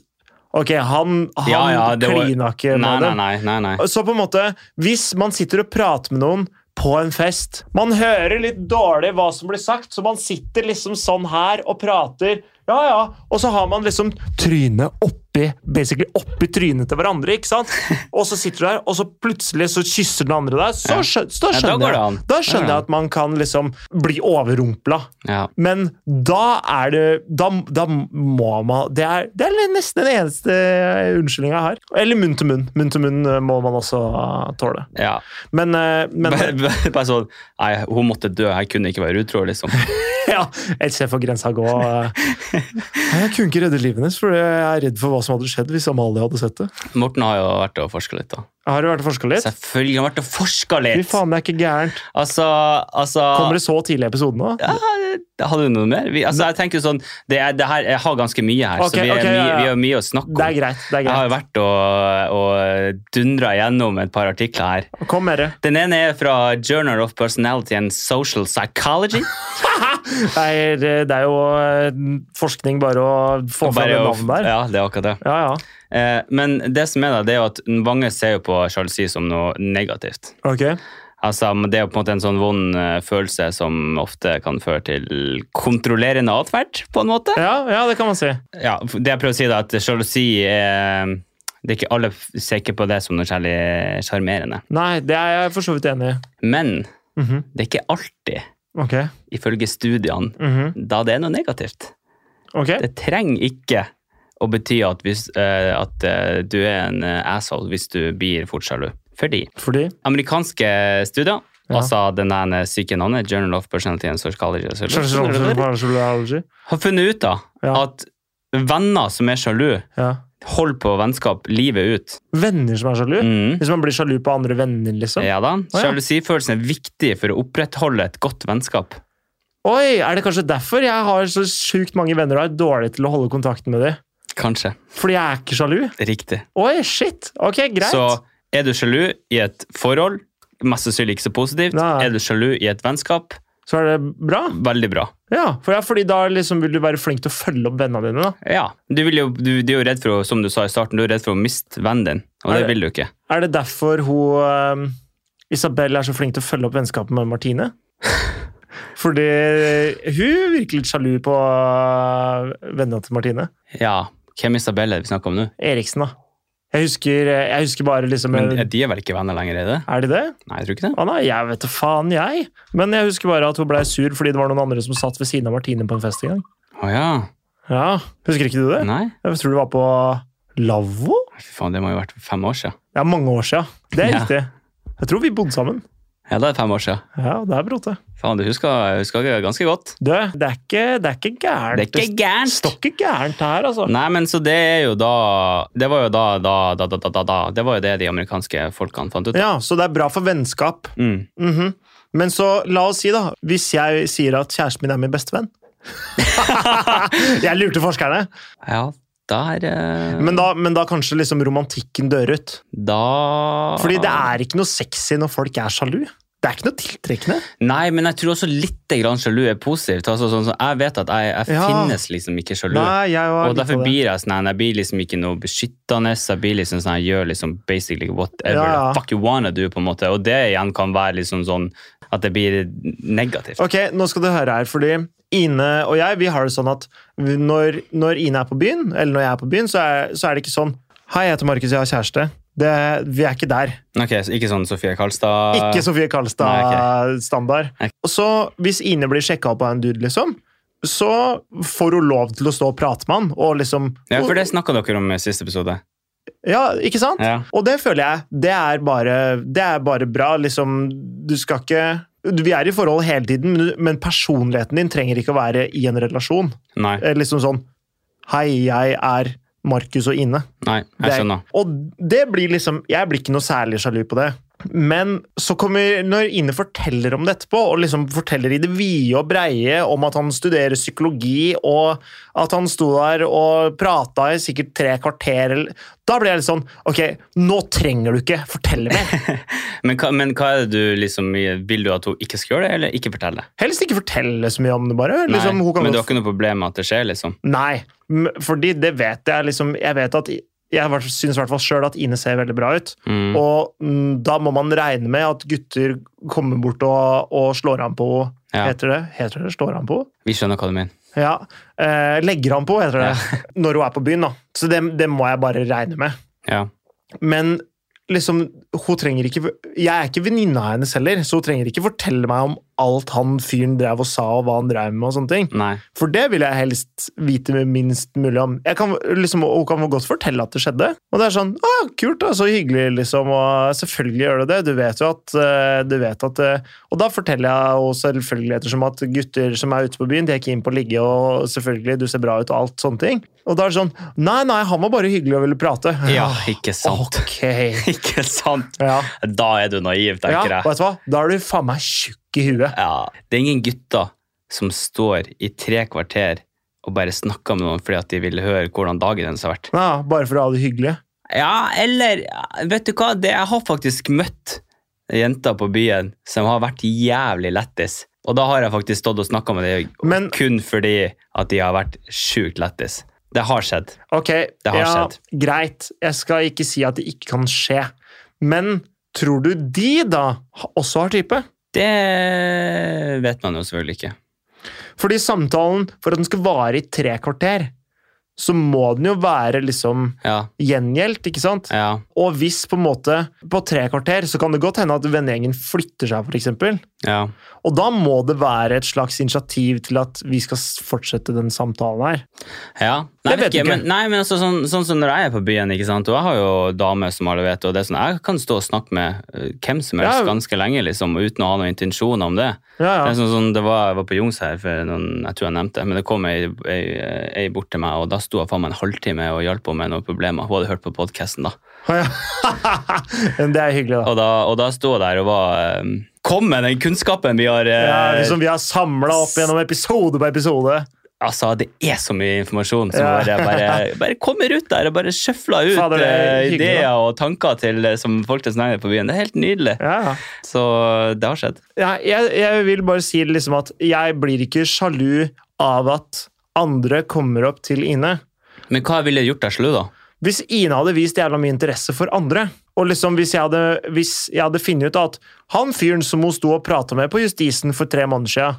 Ok, han, han
Ja, ja, det var-
klina ikke med
Nei, nei,
dem.
nei. nei, nei.
Så på en måte, hvis man sitter og prater med noen på en fest Man hører litt dårlig hva som blir sagt, så man sitter liksom sånn her og prater. Ja, ja. Og så har man liksom trynet oppi basically oppi trynet til hverandre. ikke sant? Og så sitter du der, og så plutselig så kysser den andre deg. Så
Ja.
skjø- da
Ja, da
skjønner,
går det
jeg,
an.
da
Ja,
skjønner
ja.
jeg at man kan liksom bli overrumpla.
Ja.
Men da er det Da, da må man det er, det er nesten den eneste unnskyldninga jeg har. Eller munn til munn. Munn til munn eh, må man også eh, tåle.
ja.
Men, eh, men
Bare, bare sånn Nei, hun måtte dø. Jeg kunne ikke være utro, liksom.
ja, ellers jeg får grensa gå. eh. Jeg kunne ikke redde livet hennes, for jeg er redd for hva som hadde skjedd hvis Amalie hadde sett det.
Morten har jo vært og forska litt, da.
Jeg har jo vært og forska litt.
Selvfølgelig har han vært og forska
Fy
litt!
faen, det er ikke gærent.
Altså, altså
Kommer det så tidlig i episoden nå?
ja, Hadde du noe mer? Vi, altså, jeg tenker jo sånn det er, det her, Jeg har ganske mye her,
Ok,
så vi har
ok,
mye,
ja, ja.
vi har mye å snakke om.
Det er greit. det er
Jeg har
greit.
vært og, og dundra gjennom et par artikler her.
Kom med det.
Den ene er fra Journal of Personality and Social Psychology.
Det er, det er jo eh, forskning bare å få fram
Bare
det
å-
navnet der.
Ja, det er akkurat det.
Ja, ja.
Eh, men det som er da, det er jo at mange ser jo på sjalusi som noe negativt.
Ok.
Altså, men Det er jo på en måte en sånn vond eh, følelse som ofte kan føre til kontrollerende atferd, på en måte.
Ja, ja, det kan man si.
Ja, Det jeg prøver å si, da, at sjalusi er det er ikke Alle ser ikke på det som noe særlig sjarmerende.
Nei, det er jeg for så vidt enig i.
Men
Mhm.
det er ikke alltid,
Ok.
ifølge studiene,
Mhm.
da det er noe negativt.
Ok.
Det trenger ikke å bety at, hvis, eh, at eh, du er en eh, asshole hvis du blir fort sjalu. Fordi
Fordi
amerikanske studier,
Ja.
altså den der syke navnet, Journal of Personality and Sociology,
Sjalusi.
har funnet ut da,
Ja.
at venner som er sjalu,
Ja.
holder på vennskap livet ut.
Venner som er sjalu?
Mm.
Hvis man blir sjalu på andre venner, liksom?
Ja da,
ja.
Sjalusifølelsen er viktig for å opprettholde et godt vennskap.
Oi, er det kanskje derfor jeg har så sjukt mange venner og er dårlig til å holde kontakten med dem?
Kanskje.
Fordi jeg er ikke sjalu?
Riktig.
Oi, shit! Ok, greit.
Så er du sjalu i et forhold, mest sannsynlig ikke så positivt.
Nei.
Er du sjalu i et vennskap,
Så er det bra?
veldig bra.
Ja, for ja, fordi da liksom vil du være flink til å følge opp vennene dine. da.
Ja, du, vil jo, du, du er jo redd for å, som du sa i starten, du er redd for å miste vennen din, og
Er
det
det-
vil du ikke.
Er det derfor hun um, Isabel er så flink til å følge opp vennskapet med Martine? Fordi hun virker litt sjalu på uh, vennene til Martine.
Ja, hvem Isabelle er det vi snakker om nå?
Eriksen, da. Jeg husker, jeg husker bare liksom
Men er de er vel ikke venner lenger, er det?
Er de det?
Nei, jeg tror ikke det.
Å nei, jeg vet da faen, jeg. Men jeg husker bare at hun blei sur fordi det var noen andre som satt ved siden av Martine på en fest en gang.
Å ja,
Ja, Husker ikke du det?
nei.
Jeg tror det var på lavvo?
Fy faen, det må jo ha vært fem år siden.
Det er mange år sia. Det er
Ja.
riktig. Jeg tror vi bodde sammen.
Ja, da er det fem år siden.
Ja, det er brote.
Faen, du husker, husker det ganske godt.
Du, det er ikke, det er ikke gærent.
Det er ikke gærent!
står ikke gærent her, altså.
Nei, men så det er jo da Det var jo da, da, da, da, da, da, da. Det var jo det de amerikanske folkene fant ut.
Ja, Så det er bra for vennskap.
Mm.
Mhm. Men så la oss si, da, hvis jeg sier at kjæresten min er min bestevenn Jeg lurte forskerne.
Ja, der eh,
Men da, men da kanskje liksom romantikken dør ut.
Da
Fordi det er ikke noe sexy når folk er sjalu. Det er ikke noe tiltrekkende.
Nei, men jeg tror også litt grann sjalu er positivt. Altså, sånn, som jeg vet at jeg, jeg
Ja.
finnes liksom ikke sjalu.
Nei, jeg var
og
litt
derfor
av det.
blir jeg sånn her, jeg blir liksom ikke noe beskyttende. Jeg blir liksom sånn, jeg gjør liksom basically whatever
Ja, ja.
the fuck you wanna do, på en måte. Og det igjen kan være liksom sånn at det blir negativt.
Ok, nå skal du høre her, fordi Ine og jeg, vi har det sånn at vi- når, når Ine er på byen, eller når jeg er på byen, så er, så er det ikke sånn Hei, jeg heter Markus, jeg har kjæreste. Det, vi er ikke der.
Ok, så Ikke sånn Sofie Karlstad
Ikke Sofie Karlstad-standard.
Ok.
Så hvis Ine blir sjekka opp av en dude, liksom, så får hun lov til å stå og prate med han, og liksom
Ja, for det snakka dere om i siste episode.
Ja, ikke sant?
Ja.
Og det føler jeg, det er bare, det er bare bra. Liksom, du skal ikke du- vi er i forhold hele tiden, men du- men personligheten din trenger ikke å være i en relasjon.
Nei.
Eh, Liksom sånn Hei, jeg er Markus og Ine.
Nei,
Det
jeg
er-
skjønner.
Og det blir liksom Jeg blir ikke noe særlig sjalu på det. Men så kommer, når Ine forteller om det etterpå, og liksom forteller i det vide og breie om at han studerer psykologi, og at han sto der og prata i sikkert tre kvarter eller- Da blir jeg litt sånn Ok, nå trenger du ikke fortelle mer.
Men hva, men hva er det du liksom Vil du at hun ikke skal gjøre det, eller ikke fortelle?
Helst ikke fortelle så mye om det, bare. Liksom, hun kan godt-
men du har ikke noe problem med at det skjer, liksom?
Nei, m- fordi det vet jeg liksom Jeg vet at jeg hvert- synes i hvert fall sjøl at Ine ser veldig bra ut.
Mm.
Og mm, da må man regne med at gutter kommer bort og, og slår han på
Ja.
Heter det Heter det slår han på?
Vi skjønner hva du mener.
Ja. Eh, legger han på, heter det. Når hun er på byen, da. Så det, det må jeg bare regne med.
Ja.
Men liksom, hun trenger ikke Jeg er ikke venninna hennes heller, så hun trenger ikke fortelle meg om alt han fyren drev og sa, og hva han drev med, og sånne ting.
Nei.
For det vil jeg helst vite minst mulig om. Jeg kan, liksom, og hun kan godt fortelle at det skjedde. Og det er sånn Å, kult, da. Så hyggelig, liksom. Og selvfølgelig gjør du det. Du vet jo at eh, Du vet at eh», Og da forteller jeg jo selvfølgelig ettersom at gutter som er ute på byen, de er keen på å ligge, og selvfølgelig, du ser bra ut og alt sånne ting. Og da er det sånn Nei, nei, han var bare hyggelig og ville prate.
Ja, ikke sant.
Ok.
Ikke sant!
Ja.
Da er du
ja.
naiv, tenker jeg.
Vet du hva? Da er du faen meg tjukk i huet.
Ja. Det er ingen gutter som står i tre kvarter og bare snakker med noen fordi at de vil høre hvordan dagen deres har vært.
Ja, bare for å ha det hyggelig.
Ja, eller Vet du hva? Det, jeg har faktisk møtt jenter på byen som har vært jævlig lættis. Og da har jeg faktisk stått og snakka med dem
Men-
kun fordi at de har vært sjukt lættis. Det har skjedd.
Ok,
har
ja,
skjedd.
greit. Jeg skal ikke si at det ikke kan skje. Men tror du de da ha- også har type?
Det vet man jo selvfølgelig ikke.
Fordi samtalen, for at den skal vare i tre kvarter, så må den jo være liksom
Ja,
gjengjeldt, ikke sant?
ja.
Og hvis på en måte på tre kvarter, så kan det godt hende at vennegjengen flytter seg, for eksempel.
ja.
Og da må det være et slags initiativ til at vi skal s- fortsette den samtalen her.
ja. Nei,
Det vet
vet ikke,
du ikke.
Men, nei, men altså, sånn, sånn som når jeg er på byen, ikke sant? og jeg har jo damer som alle vet, og det er sånn, jeg kan stå og snakke med eh, hvem som helst
Ja.
ganske lenge liksom, uten å ha noen intensjoner om det.
Ja,
Det
ja.
er sånn, sånn, det var, jeg var på Jungs her, for noen, jeg tror jeg nevnte det, men det kom ei, ei, ei bort til meg, og da sto jeg faen meg en halvtime og hjalp henne med noen problemer. Hun hadde hørt på podkasten, da.
Men det er hyggelig, da.
Og da, og da sto jeg der og var eh, Kom med den kunnskapen vi har eh,
Ja, liksom vi har samla opp gjennom episode på episode.
Altså, det er så mye informasjon som
Ja.
bare, bare, bare kommer ut der og bare sjøfler ut
Fader, det er
eh,
hyggelig, da.
ideer og tanker til eh, som folk til snakker på byen. Det er helt nydelig.
Ja, ja.
Så det har skjedd.
Ja, jeg, jeg vil bare si liksom at jeg blir ikke sjalu av at andre kommer opp til Ine.
Men hva ville gjort deg slu, da?
Hvis Ine hadde vist jævla mye interesse for andre, og liksom hvis jeg hadde, hvis jeg hadde funnet ut at han fyren som hun sto og prata med på Justisen for tre måneder siden,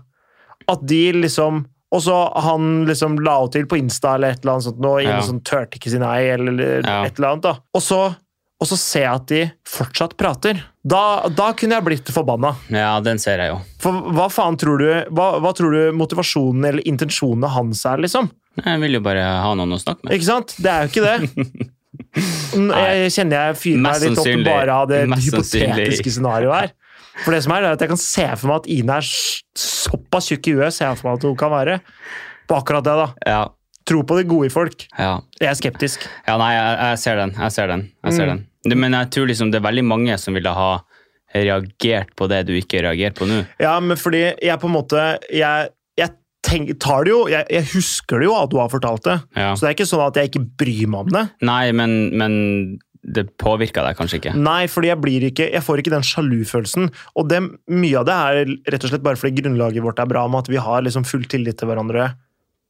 at de liksom Og så han liksom la henne til på Insta eller et eller annet sånt, og Ine
Ja.
sånn tørte ikke si nei, eller
Ja.
et eller annet, da. Og så, og så ser jeg at de fortsatt prater. Da, da kunne jeg blitt forbanna.
Ja, den ser jeg jo.
For hva faen tror du Hva, hva tror du motivasjonen eller intensjonene hans er, liksom?
Jeg vil jo bare ha noen å snakke med.
Ikke sant? Det er jo ikke det. N- Jeg kjenner jeg fyrer
Mest
meg litt opp til
sannsynlig-
bare av det
mest sannsynlig.
hypotetiske scenarioet her. For det som er, er at jeg kan se for meg at Ine er s- såpass tjukk i huet, ser jeg for meg at hun kan være. På akkurat det, da.
Ja,
Tro på det gode i folk.
ja.
Jeg er skeptisk.
Ja, nei, jeg, jeg ser den. Jeg ser den. Jeg ser
Mm.
den. Det, men jeg tror liksom det er veldig mange som ville ha reagert på det du ikke reagerer på nå.
Ja, men fordi jeg på en måte Jeg, jeg tenk, tar det jo jeg, jeg husker det jo at du har fortalt det.
Ja.
Så det er ikke sånn at jeg ikke bryr meg om det.
Nei, men, men det påvirka deg kanskje ikke.
Nei, fordi jeg, blir ikke, jeg får ikke den sjalufølelsen. Og det, mye av det er rett og slett bare fordi grunnlaget vårt er bra, med at vi har liksom full tillit til hverandre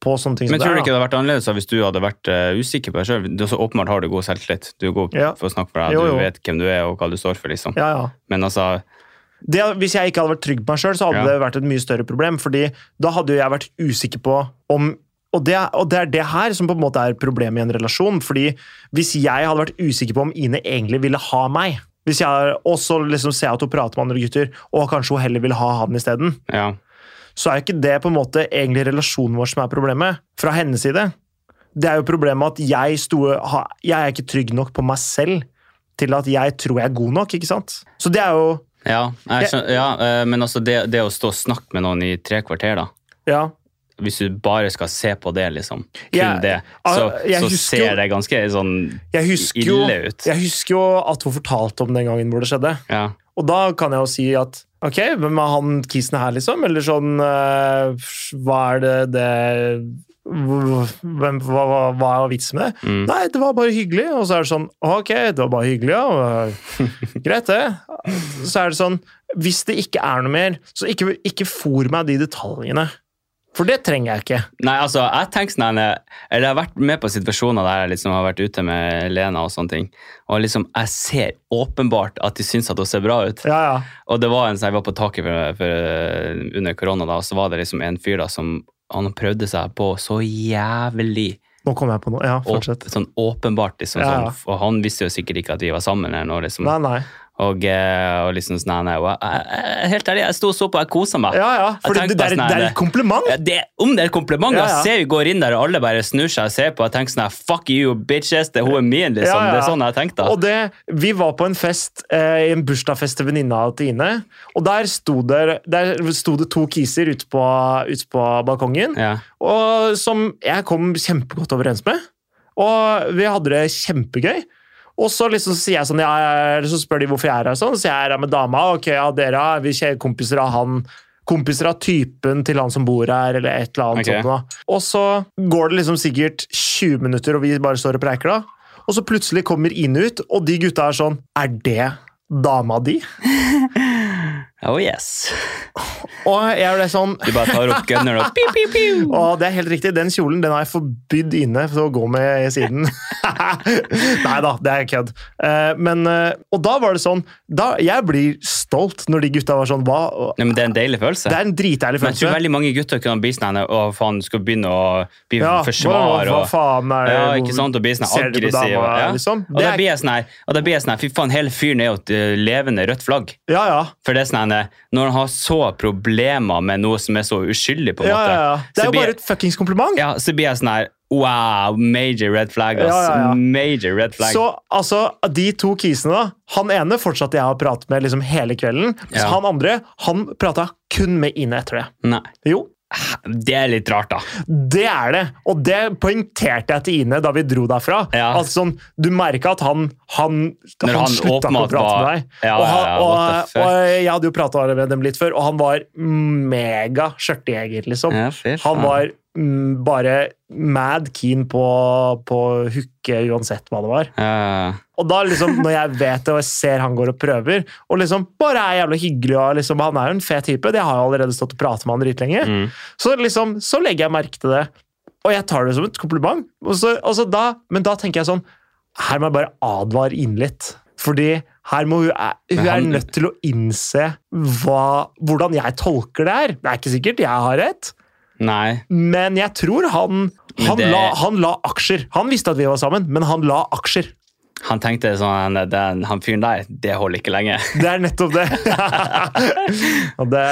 på sånne ting.
Men
som
tror du ikke
det?
det hadde vært annerledes da hvis du hadde vært eh, usikker på deg sjøl? Så åpenbart har du god selvtillit. Du er god
Ja.
for å snakke for deg.
Jo, jo.
Du vet hvem du er og hva du står for, liksom.
da. Ja, ja.
Men altså,
Det, hvis jeg ikke hadde vært trygg på meg sjøl, så hadde
Ja.
det vært et mye større problem. fordi da hadde jo jeg vært usikker på om og det, er- og det er det her som på en måte er problemet i en relasjon. fordi hvis jeg hadde vært usikker på om Ine egentlig ville ha meg, hvis jeg også liksom ser jeg at hun prater med andre gutter, og kanskje hun heller vil ha han isteden,
ja.
så er ikke det på en måte egentlig relasjonen vår som er problemet, fra hennes side. Det er jo problemet at jeg, sto, ha- jeg er ikke trygg nok på meg selv til at jeg tror jeg er god nok, ikke sant? Så det er jo
Ja,
Jeg-
jeg, skjønner- ja eh, men altså det, det å stå og snakke med noen i tre kvarter, da.
Ja.
Hvis du bare skal se på det, liksom. Kun
Jeg-
det. Så,
Ah, jeg
så
husker jo-
ser det ganske sånn
Jeg husker, jo,
ille ut.
jeg husker jo at hun fortalte om den gangen hvor det skjedde.
Ja.
Og da kan jeg jo si at ok, hvem er han kissen her, liksom? Eller sånn eh, Hva er det det hvem, hva, hva, hva er vitsen med det?
Mm.
Nei, det var bare hyggelig. Og så er det sånn Ok, det var bare hyggelig, ja. og- Greit, det. Så er det sånn Hvis det ikke er noe mer, så ikke, ikke fôr meg de detaljene. For det trenger jeg ikke.
Nei, altså, jeg tenker sånn Eller jeg har vært med på situasjoner der jeg liksom har vært ute med Lena og sånne ting. Og liksom, jeg ser åpenbart at de syns at hun ser bra ut.
Ja, ja.
Og det var en som jeg var på taket for, for, under korona, da, og så var det liksom en fyr da som han prøvde seg på så jævlig
Nå kom jeg på noe. Ja,
åp,
fortsett.
sånn åpenbart. liksom
Ja, ja.
sånn, Og han visste jo sikkert ikke at vi var sammen. eller noe liksom.
Nei, nei.
Og, eh, og liksom sånn, nei, nei, og jeg, jeg, jeg, Helt ærlig, jeg sto og så på, jeg kosa meg.
Ja, ja. For
Jeg
det, det, er,
tenkte bare sånn
det er
her,
et kompliment.
Ja, det, om det er et kompliment,
Ja, ja.
da, ser vi går inn der, og alle bare snur seg og ser på. Jeg tenker sånn her, fuck you, bitches, det er hun er min, liksom.
Ja, ja.
Det er sånn jeg tenkte.
Og det, vi var på en fest, eh, en bursdagsfest til venninna av Tine, og der sto det, der sto det to kiser ute på, ut på balkongen,
Ja.
og som jeg kom kjempegodt overens med. Og vi hadde det kjempegøy. Og så liksom sier jeg sånn, ja, ja, ja, så spør de hvorfor jeg er her, og sånn, så jeg er her med dama, ok, ja, dere er vi kje- kompiser av han, kompiser av typen til han som bor her, eller et eller annet
Ok.
sånt. Da. Og så går det liksom sikkert 20 minutter, og vi bare står og preiker da, og så plutselig kommer inn ut, og de gutta er sånn, er det dama di?
Oh yes.
Og jeg ble sånn,
Du bare tar opp gunner og piu, piu, piu.
Og det er helt riktig, den kjolen den har jeg forbydd inne for å gå med i siden. Nei da, det er kødd. Eh, Men, eh, og da var det sånn da, Jeg blir stolt når de gutta var sånn Hva?
Nei, men det er en deilig
Det
følelse.
er en dritdeilig
Men jeg tror
følelse.
veldig mange gutter kunne bli sånn her, Å, faen, du skal begynne å bli
Ja, hva,
forsvar
hva
og
faen er det
ja, ikke sant, og bli sånn
Ser du på
aggressiv.
dama,
ja.
liksom?
Og
Det
da
er-
blir jeg sånn her, og da blir jeg sånn her, fy faen, hele fyren er jo et eh, levende rødt flagg.
Ja, ja.
For det er sånn her, når han har så problemer med noe som er så uskyldig, på en
ja,
måte,
ja, ja. Det
så
er jo
blir-
bare et fuckings kompliment.
ja, så blir jeg sånn her Wow, major red flag, ass.
Ja, ja, ja.
Major red flag.
Så altså, de to kisene, da Han ene fortsatte jeg å prate med liksom hele kvelden. mens
Ja.
han andre han prata kun med Ine etter det.
Nei,
Jo,
det er litt rart, da.
Det er det, og det poengterte jeg til Ine da vi dro derfra.
Ja.
Altså, sånn, du merka at han, han,
Når
han,
han
slutta ikke å
åpenbart
prate
var-
med deg.
Ja,
og, han,
ja, ja, what
og,
the fuck?
og jeg hadde jo prata med dem litt før, og han var mega skjørtejeger, liksom.
Ja, fy faen.
Han var mm, bare mad keen på, på å hooke uansett hva det var.
Ja,
Og da liksom, når jeg vet det, og jeg ser han går og prøver, og liksom bare er jævla hyggelig og liksom, Han er jo en fet type, det har jeg allerede stått og pratet med han dritlenge.
mm.
Så liksom, så legger jeg merke til det, og jeg tar det som et kompliment. Og så, og så da, men da tenker jeg sånn, her må jeg bare advare inn litt. Fordi her må hun, eh, hun
Men han-
er nødt til å innse hva, hvordan jeg tolker det her. Det er ikke sikkert jeg har rett,
Nei.
men jeg tror han,
Men
han,
det-
la, han la aksjer. Han visste at vi var sammen, men han la aksjer.
Han tenkte sånn den, Han fyren der, det holder ikke lenge.
Det er nettopp det. og det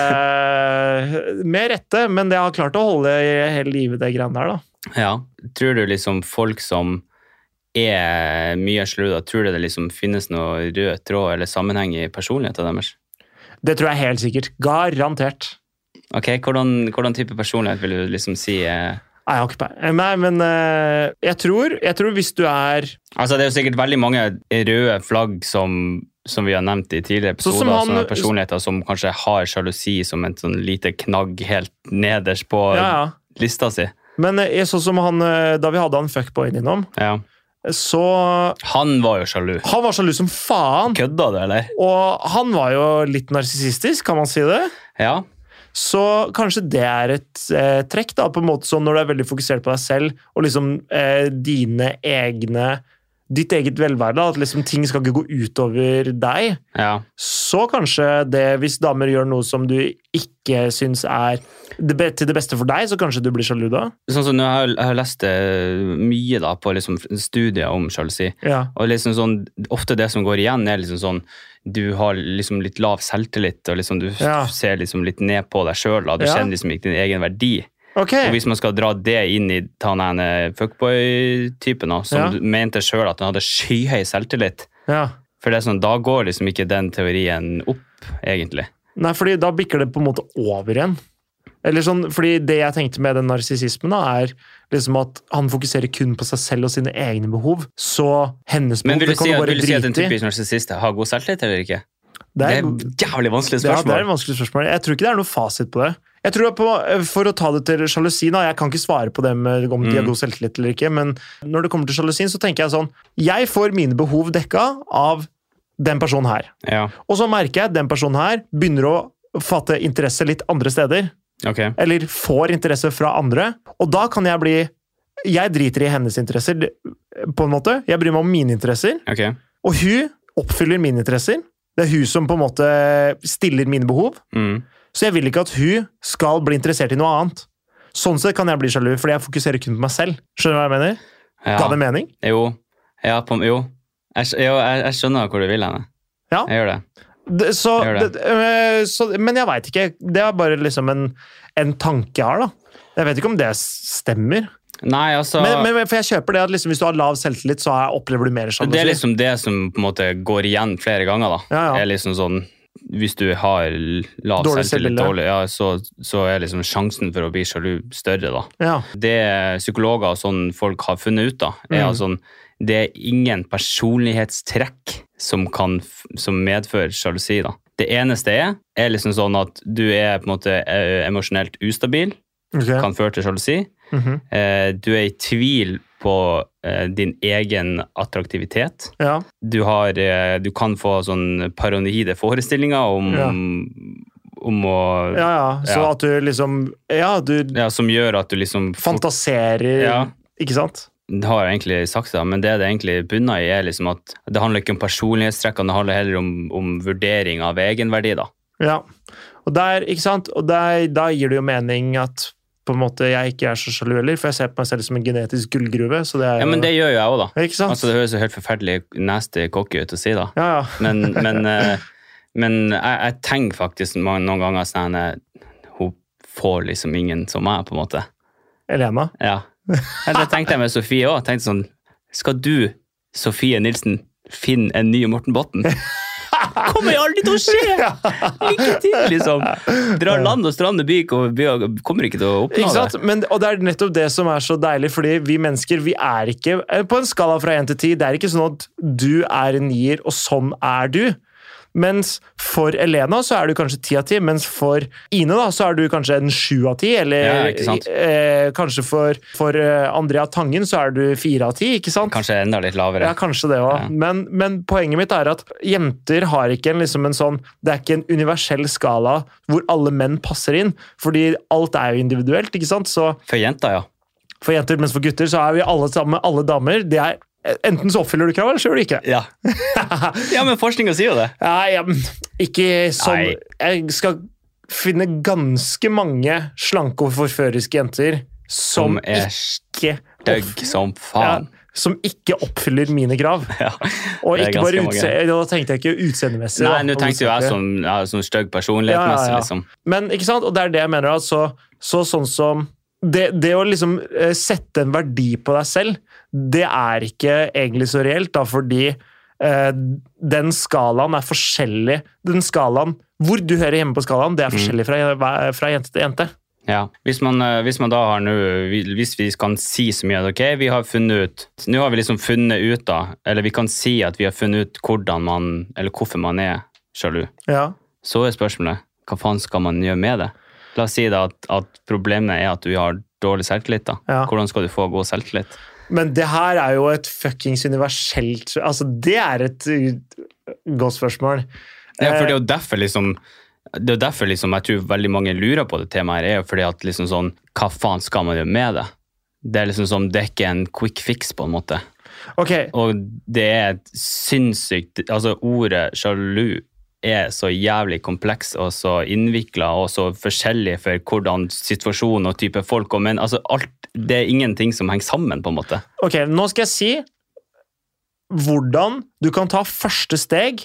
med rette, men det har klart å holde i hele livet, det greiene der, da.
Ja. Tror du liksom folk som er mye sludda, tror du det liksom finnes noe rød tråd eller sammenheng i personligheten deres?
Det tror jeg helt sikkert. Garantert.
Ok, Hvordan, hvordan type personlighet vil du liksom si eh?
Nei, jeg har ikke peiling. Nei, men eh, jeg, tror, jeg tror hvis du er
Altså, Det er jo sikkert veldig mange røde flagg som, som vi har nevnt i tidligere
Så
episoder,
som han-
sånne personligheter som kanskje har sjalusi som en sånn lite knagg helt nederst på
Ja, ja.
lista si.
Men eh, jeg, sånn som han eh, da vi hadde han fuckboyen innom,
Ja.
så
Han var jo sjalu.
Han var sjalu som faen!
Kødda du, eller?
Og han var jo litt narsissistisk, kan man si det.
Ja.
Så kanskje det er et eh, trekk, da, på en måte sånn når du er veldig fokusert på deg selv og liksom eh, dine egne Ditt eget velvære, da. At liksom ting skal ikke gå utover deg.
ja.
så kanskje det, hvis damer gjør noe som du ikke syns er det be- til det beste for deg, så kanskje du blir sjalu da?
Sånn som nå, jeg, har- jeg har lest eh, mye da, på liksom, studier om sjalusi.
Ja.
Og liksom sånn, ofte det som går igjen, er liksom sånn Du har liksom litt lav selvtillit, og liksom du
Ja.
ser liksom litt ned på deg sjøl. Du
Ja.
kjenner liksom ikke din egen verdi.
Ok.
Og hvis man skal dra det inn i han ene fuckboy-typen, da, som
Ja.
du mente sjøl at han hadde skyhøy selvtillit
Ja.
For det er sånn, da går liksom ikke den teorien opp, egentlig.
Nei, fordi da bikker det på en måte over igjen. Eller sånn, fordi Det jeg tenkte med den narsissismen, da, er liksom at han fokuserer kun på seg selv og sine egne behov. Så hennes behov
Men vil
det kan
du si,
du bare
vil du si at en
drite i.
typisk narsissist har god selvtillit, eller ikke? Det
Det
er
er,
jævlig vanskelig
ja, det er
spørsmål.
et vanskelig spørsmål. Jeg tror ikke det er noe fasit på det. Jeg tror at på, eh, For å ta det til sjalusi, da, jeg kan ikke svare på det med om de har
Mm.
god selvtillit eller ikke, men når det kommer til sjalusien, så tenker jeg sånn Jeg får mine behov dekka av den personen her.
Ja,
Og så merker jeg at den personen her begynner å fatte interesse litt andre steder.
ok.
Eller får interesse fra andre. Og da kan jeg bli Jeg driter i hennes interesser, på en måte. Jeg bryr meg om mine interesser.
ok.
Og hun oppfyller mine interesser. Det er hun som på en måte stiller mine behov.
Mm.
Så jeg vil ikke at hun skal bli interessert i noe annet. Sånn sett kan jeg bli sjalu, fordi jeg fokuserer kun på meg selv. Skjønner du hva jeg mener? Ga
Ja,
det mening?
jo. Ja, på, jo. Jeg, skj- jo, jeg, jeg skjønner hvor du vil henne.
Ja.
Jeg gjør det.
Det, så,
Jeg gjør
det.
det.
øh, så, men jeg veit ikke. Det er bare liksom en, en tanke jeg har, da. Jeg vet ikke om det stemmer.
Nei, altså...
Men, men, men for jeg kjøper det at liksom, hvis du har lav selvtillit, så er- opplever du mer sjalusi.
Det er liksom det som på en måte går igjen flere ganger. da.
Ja, ja.
er liksom sånn, Hvis du har lav
Dårlig selvbilde.
selvtillit, dårlig, ja, så, så er liksom sjansen for å bli sjalu større. da.
ja.
Det psykologer og sånn folk har funnet ut, da, er
Mm.
at sånn, det er ingen personlighetstrekk som, kan, f- som medfører sjalusi. da. Det eneste er, er liksom sånn at du er på en måte eh, emosjonelt ustabil,
Ok.
kan føre til sjalusi.
Mhm.
Eh, Du er i tvil på eh, din egen attraktivitet
ja.
du, har, eh, du kan få sånn paranoide forestillinger om,
Ja.
om å ja.
ja, ja. Så
Ja.
at du liksom Ja, du
Som gjør at du liksom fort-
fantaserer,
Ja.
ikke sant?
Det har jeg egentlig sagt det, men det det egentlig bunner i, er liksom at det handler ikke om personlighetstrekkene, det handler heller om, om vurdering av egenverdi, da.
Ja. Og der, ikke sant? Og der, da gir det jo mening at på en måte jeg ikke er så sjalu heller, for jeg ser på meg selv som en genetisk gullgruve. Så det er
Ja,
jo-
men det gjør jo jeg òg, da.
Ikke sant?
Altså, det høres jo helt forferdelig nasty cocky ut å si, da.
ja, ja.
Men, men, eh, men jeg, jeg tenker faktisk ma- noen ganger sånn eh, Hun får liksom ingen som meg, på en måte.
Elena.
Ja. Men Det tenkte jeg med Sofie òg. Tenkte sånn Skal du, Sofie Nilsen, finne en ny Morten Botten? Kommer jo aldri til å skje! Lykke til, liksom. Drar land og strand og by og by og kommer ikke til å oppnå
Ikke sant?
det.
Men, og det er nettopp det som er så deilig, fordi vi mennesker, vi er ikke eh, På en skala fra 1 til 10, det er ikke sånn at du er en nier, og sånn er du. Mens for Elena så er du kanskje 10 av 10, mens for Ine da, så er du kanskje en 7 av 10, eller
Ja, ikke sant?
eh, kanskje for, for eh, Andrea Tangen så er du 4 av 10, ikke sant?
Kanskje enda litt lavere.
Ja, kanskje det òg.
Ja.
Men, men poenget mitt er at jenter har ikke en, liksom en sånn Det er ikke en universell skala hvor alle menn passer inn, fordi alt er jo individuelt. ikke sant? Så
For jenter, ja.
for jenter, mens for gutter, så er vi alle sammen alle damer. Det er, enten så oppfyller du kravet, eller så gjør du ikke det.
Ja, ja men forskninga sier jo det.
Nei, ja, men ikke sånn
Nei.
Jeg skal finne ganske mange slanke og forføriske jenter
Som
som,
er
ikke opp,
stygg som faen.
som ikke oppfyller mine krav.
Ja.
Og
Det er
ikke bare
ganske
utse da tenkte jeg ikke utseendemessig.
Nei,
da,
nå
om
tenkte jo jeg sånn.
snakker.
som, ja, som stygg
Ja,
personlighetsmessig,
ja, ja.
liksom.
Men ikke sant, og det er det jeg mener. Altså, så sånn som det, det å liksom eh, sette en verdi på deg selv, det er ikke egentlig så reelt, da, fordi eh, den skalaen er forskjellig. Den skalaen Hvor du hører hjemme på skalaen,
Mm.
det er forskjellig fra, hver- fra jente til jente.
Ja, hvis man, eh, hvis man da har nå, hvis vi kan si så mye at ok, vi har funnet ut, nå har vi liksom funnet ut da, eller vi kan si at vi har funnet ut hvordan man, eller hvorfor man er sjalu,
Ja.
så er spørsmålet, hva faen skal man gjøre med det? La oss si da at, at problemet er at du har dårlig selvtillit da.
Ja.
Hvordan skal du få god selvtillit?
Men det her er jo et fuckings universelt Altså, det er et uh, godt spørsmål.
Ja, for det er jo derfor liksom, det er jo derfor liksom, jeg tror veldig mange lurer på det temaet her, er jo fordi at liksom sånn, hva faen skal man gjøre med det? Det er liksom sånn, det er ikke en quick fix på en måte.
Ok,
Og det er et sinnssykt Altså, ordet sjalu er så jævlig kompleks og så innvikla og så forskjellig for hvordan situasjon og type folk og menn Altså, alt Det er ingenting som henger sammen, på en måte.
Ok, nå skal jeg si hvordan du kan ta første steg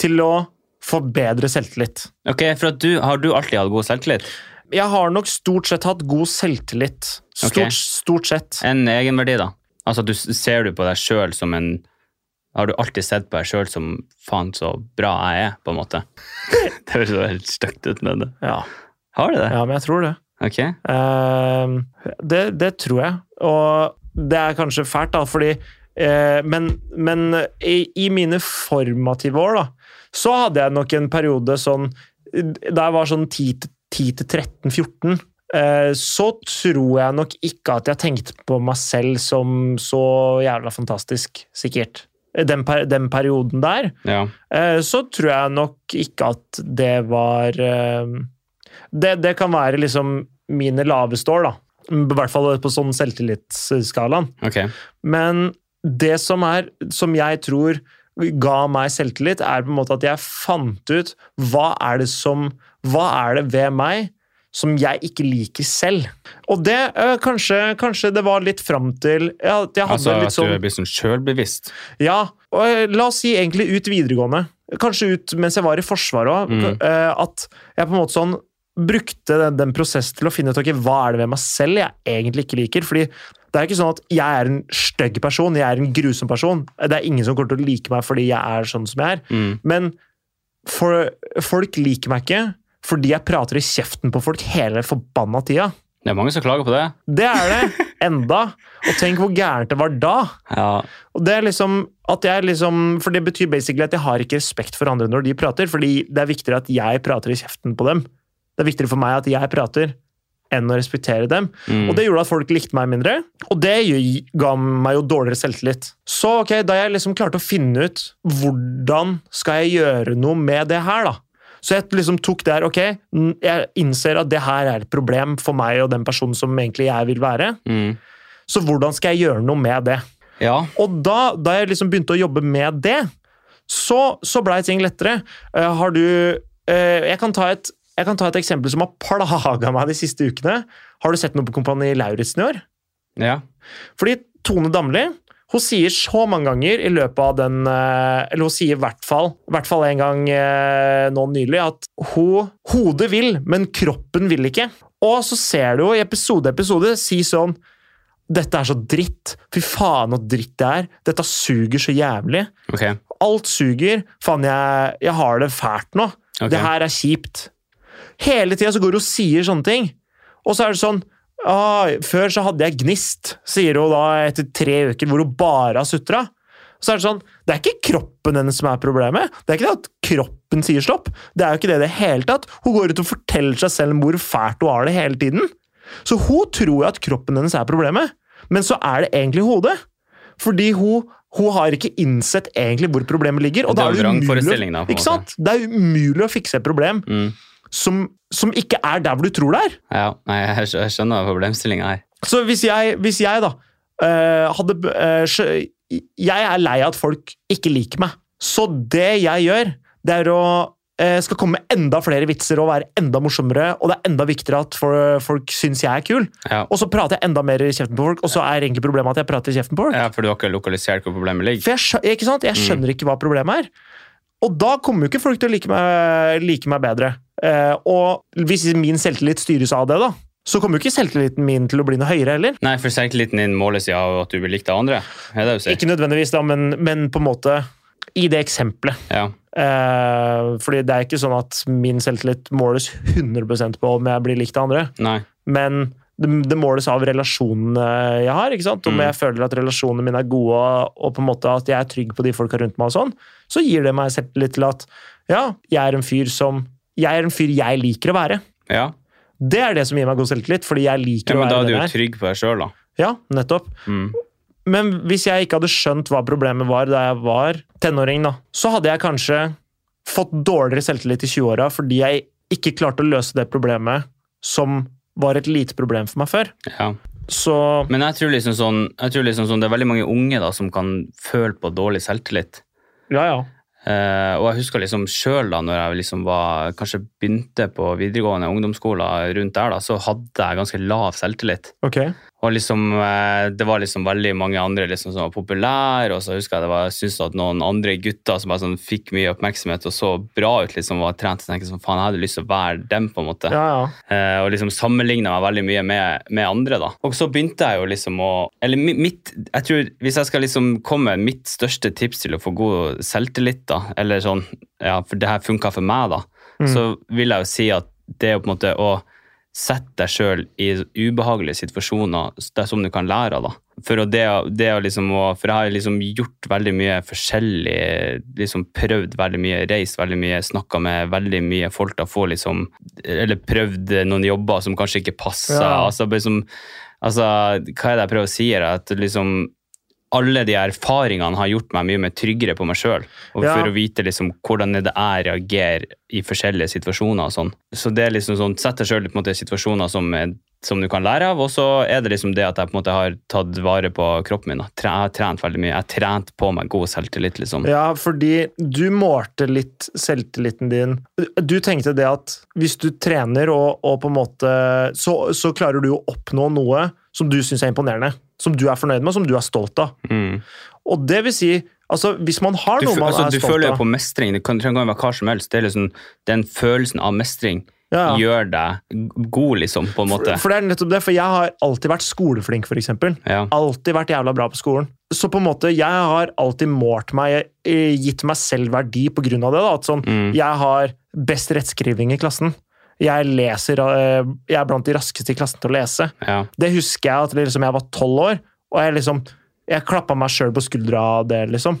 til å forbedre selvtillit.
Ok, for at du, Har du alltid hatt god selvtillit?
Jeg har nok stort sett hatt god selvtillit. Stort,
Ok.
stort sett.
En egenverdi, da? Altså, du, ser du på deg sjøl som en Har du alltid sett på deg sjøl som 'faen, så bra jeg er', på en måte? det høres jo helt stygt ut, men
Ja,
Har du det?
ja men jeg tror det.
Ok.
Ehm, det. Det tror jeg. Og det er kanskje fælt, da, fordi Eh, men men i, i mine formative år, da, så hadde jeg nok en periode sånn Da jeg var sånn 10-13-14, eh, så tror jeg nok ikke at jeg tenkte på meg selv som så jævla fantastisk, sikkert. Eh, Den, per, den perioden der.
Ja.
Eh, så tror jeg nok ikke at det var eh, Det, det kan være liksom mine laveste år, da. I hvert fall på sånn selvtillitsskalaen.
Ok.
Men det som, er, som jeg tror ga meg selvtillit, er på en måte at jeg fant ut hva er det som Hva er det ved meg som jeg ikke liker selv? Og det eh, kanskje, kanskje det var litt fram til ja, at jeg hadde
Altså
litt
at
sånn
du blir sånn sjølbevisst.
ja, og eh, la oss si egentlig ut videregående. Kanskje ut mens jeg var i Forsvaret òg.
Mm.
At jeg på en måte sånn brukte den, den prosessen til å finne ut ok, hva er det ved meg selv jeg egentlig ikke liker. fordi det er ikke sånn at jeg er en stygg person, jeg er en grusom person. Det er ingen som kommer til å like meg fordi jeg er sånn som jeg er.
Mm.
Men for, folk liker meg ikke fordi jeg prater i kjeften på folk hele forbanna tida.
Det er mange som klager på det.
Det er det enda. Og tenk hvor gærent det var da.
Ja.
Og det er liksom at jeg liksom For det betyr basically at jeg har ikke respekt for andre når de prater, fordi det er viktigere at jeg prater i kjeften på dem. Det er viktigere for meg at jeg prater, enn å respektere dem.
Mm.
Og det gjorde at folk likte meg mindre, og det gi- ga meg jo dårligere selvtillit. Så ok, da jeg liksom klarte å finne ut hvordan skal jeg gjøre noe med det her, da. Så jeg liksom tok det her, ok, n- jeg innser at det her er et problem for meg og den personen som egentlig jeg vil være,
Mm.
så hvordan skal jeg gjøre noe med det?
ja.
Og da, da jeg liksom begynte å jobbe med det, så, så blei ting lettere. Eh, har du eh, jeg, kan ta et, jeg kan ta et eksempel som har plaga meg de siste ukene. Har du sett noe på Kompani Lauritzen i år?
Ja.
Fordi Tone Damli hun sier så mange ganger i løpet av den eh, Eller hun sier i hvert fall, i hvert fall en gang eh, nå nylig at hun Hodet vil, men kroppen vil ikke. Og så ser du jo i episode episode si sånn Dette er så dritt. Fy faen, så dritt det er. Dette suger så jævlig.
Ok.
Alt suger. Faen, jeg, jeg har det fælt nå.
Ok.
Det her er kjipt. Hele tida så går hun og sier sånne ting. Og så er det sånn ah, Før så hadde jeg gnist, sier hun da etter tre uker hvor hun bare har sutra. Så er det sånn Det er ikke kroppen hennes som er problemet. Det er ikke det at kroppen sier stopp. Det er jo ikke det i det hele tatt. Hun går ut og forteller seg selv hvor fælt hun har det hele tiden. Så hun tror jo at kroppen hennes er problemet, men så er det egentlig hodet. Fordi hun, hun har ikke innsett egentlig hvor problemet ligger. Og
Det
da er
er en
det
vrang
umulig,
forestilling, da.
å-
på en
ikke sant?
måte.
Det er umulig å fikse et problem
Mm.
som, som ikke er der hvor du tror det er.
Ja. Nei, jeg skj- jeg skjønner problemstillinga her.
Så hvis jeg, hvis jeg da eh, hadde eh, skjø- Jeg er lei av at folk ikke liker meg. Så det jeg gjør, det er å eh, skal komme med enda flere vitser og være enda morsommere, og det er enda viktigere at for- folk syns jeg er kul.
Ja.
Og så prater jeg enda mer i kjeften på folk, og så er egentlig problemet at jeg prater i kjeften på folk.
ja, Mm. for du har ikke lokalisert hvor problemet ligger.
For jeg, skjø- ikke sant? jeg skjønner ikke hva problemet er. Og da kommer jo ikke folk til å like meg, like meg bedre. Eh, og hvis min selvtillit styres av det, da, så kommer jo ikke selvtilliten min til å bli noe høyere heller.
Nei, for selvtilliten din måles i av at du blir likt av andre. Er det det du sier?
Ikke nødvendigvis, da, men, men på en måte i det eksempelet.
Ja.
Eh, fordi det er ikke sånn at min selvtillit måles 100 på om jeg blir likt av andre,
Nei.
men det, det måles av relasjonene jeg har. ikke sant? Om
Mm.
jeg føler at relasjonene mine er gode, og på en måte at jeg er trygg på de folka rundt meg, og sånn, så gir det meg selvtillit til at ja, jeg er en fyr som jeg er en fyr jeg liker å være.
Ja.
Det er det som gir meg god selvtillit, fordi jeg liker
ja,
å
men da
være
er du
den
jo
jeg er.
trygg på deg sjøl, da.
Ja, nettopp.
Mm.
Men hvis jeg ikke hadde skjønt hva problemet var da jeg var tenåring, da, så hadde jeg kanskje fått dårligere selvtillit i 20-åra fordi jeg ikke klarte å løse det problemet som var et lite problem for meg før.
Ja.
Så
Men jeg tror liksom sånn, jeg tror liksom sånn det er veldig mange unge da som kan føle på dårlig selvtillit.
ja, ja.
Eh, og jeg husker liksom sjøl da når jeg liksom var, kanskje begynte på videregående ungdomsskoler rundt der, da, så hadde jeg ganske lav selvtillit.
Ok.
Og liksom, eh, det var liksom veldig mange andre liksom som var populære, og så husker jeg det var, jeg syntes at noen andre gutter som bare sånn fikk mye oppmerksomhet og så bra ut, liksom var trent, så tenkte jeg sånn, faen, jeg hadde lyst til å være dem, på en måte.
Ja, ja.
Eh, og liksom sammenligna meg veldig mye med, med andre. da. Og så begynte jeg jo liksom å Eller mi- mitt jeg tror, Hvis jeg skal liksom komme med mitt største tips til å få god selvtillit, da, eller sånn Ja, for det her funka for meg, da,
Mm.
så vil jeg jo si at det er jo på en måte å sette deg sjøl i ubehagelige situasjoner det er som du kan lære av, da. for å det, å- det å liksom å For jeg har liksom gjort veldig mye forskjellig. liksom Prøvd veldig mye, reist veldig mye, snakka med veldig mye folk. da får liksom, Eller prøvd noen jobber som kanskje ikke passer.
Ja.
Altså, bare som- altså, hva er det jeg prøver å si her? At liksom alle de erfaringene har gjort meg mye mer tryggere på meg sjøl. Og
Ja.
for å vite liksom hvordan er det jeg reagerer i forskjellige situasjoner og sånn. Så det er liksom sånn, sett deg sjøl i på en måte i situasjoner som, er, som du kan lære av, og så er det liksom det at jeg på en måte har tatt vare på kroppen min. da. Tre, jeg har trent veldig mye. Jeg har trent på meg god selvtillit, liksom.
Ja, fordi du målte litt selvtilliten din. Du tenkte det at hvis du trener og, og på en måte så, så klarer du å oppnå noe som du syns er imponerende. Som du er fornøyd med, og som du er stolt av.
Mm.
Og det vil si altså Hvis man har
Du,
noe
fø-
man
altså,
er
du
stolt
føler jo
av
på mestring. Det kan, trenger ikke være hva som helst. Det er liksom, den følelsen av mestring
ja.
gjør deg god, liksom, på en måte.
For, for det er nettopp det, for jeg har alltid vært skoleflink, for eksempel.
Ja.
Alltid vært jævla bra på skolen. Så på en måte, jeg har alltid målt meg, eh, gitt meg selv verdi på grunn av det. da, at sånn,
Mm.
Jeg har best rettskriving i klassen. Jeg, leser, eh, jeg er blant de raskeste i klassen til å lese.
Ja.
Det husker jeg at liksom, jeg var tolv år, og jeg, liksom, jeg klappa meg sjøl på skuldra av det, liksom.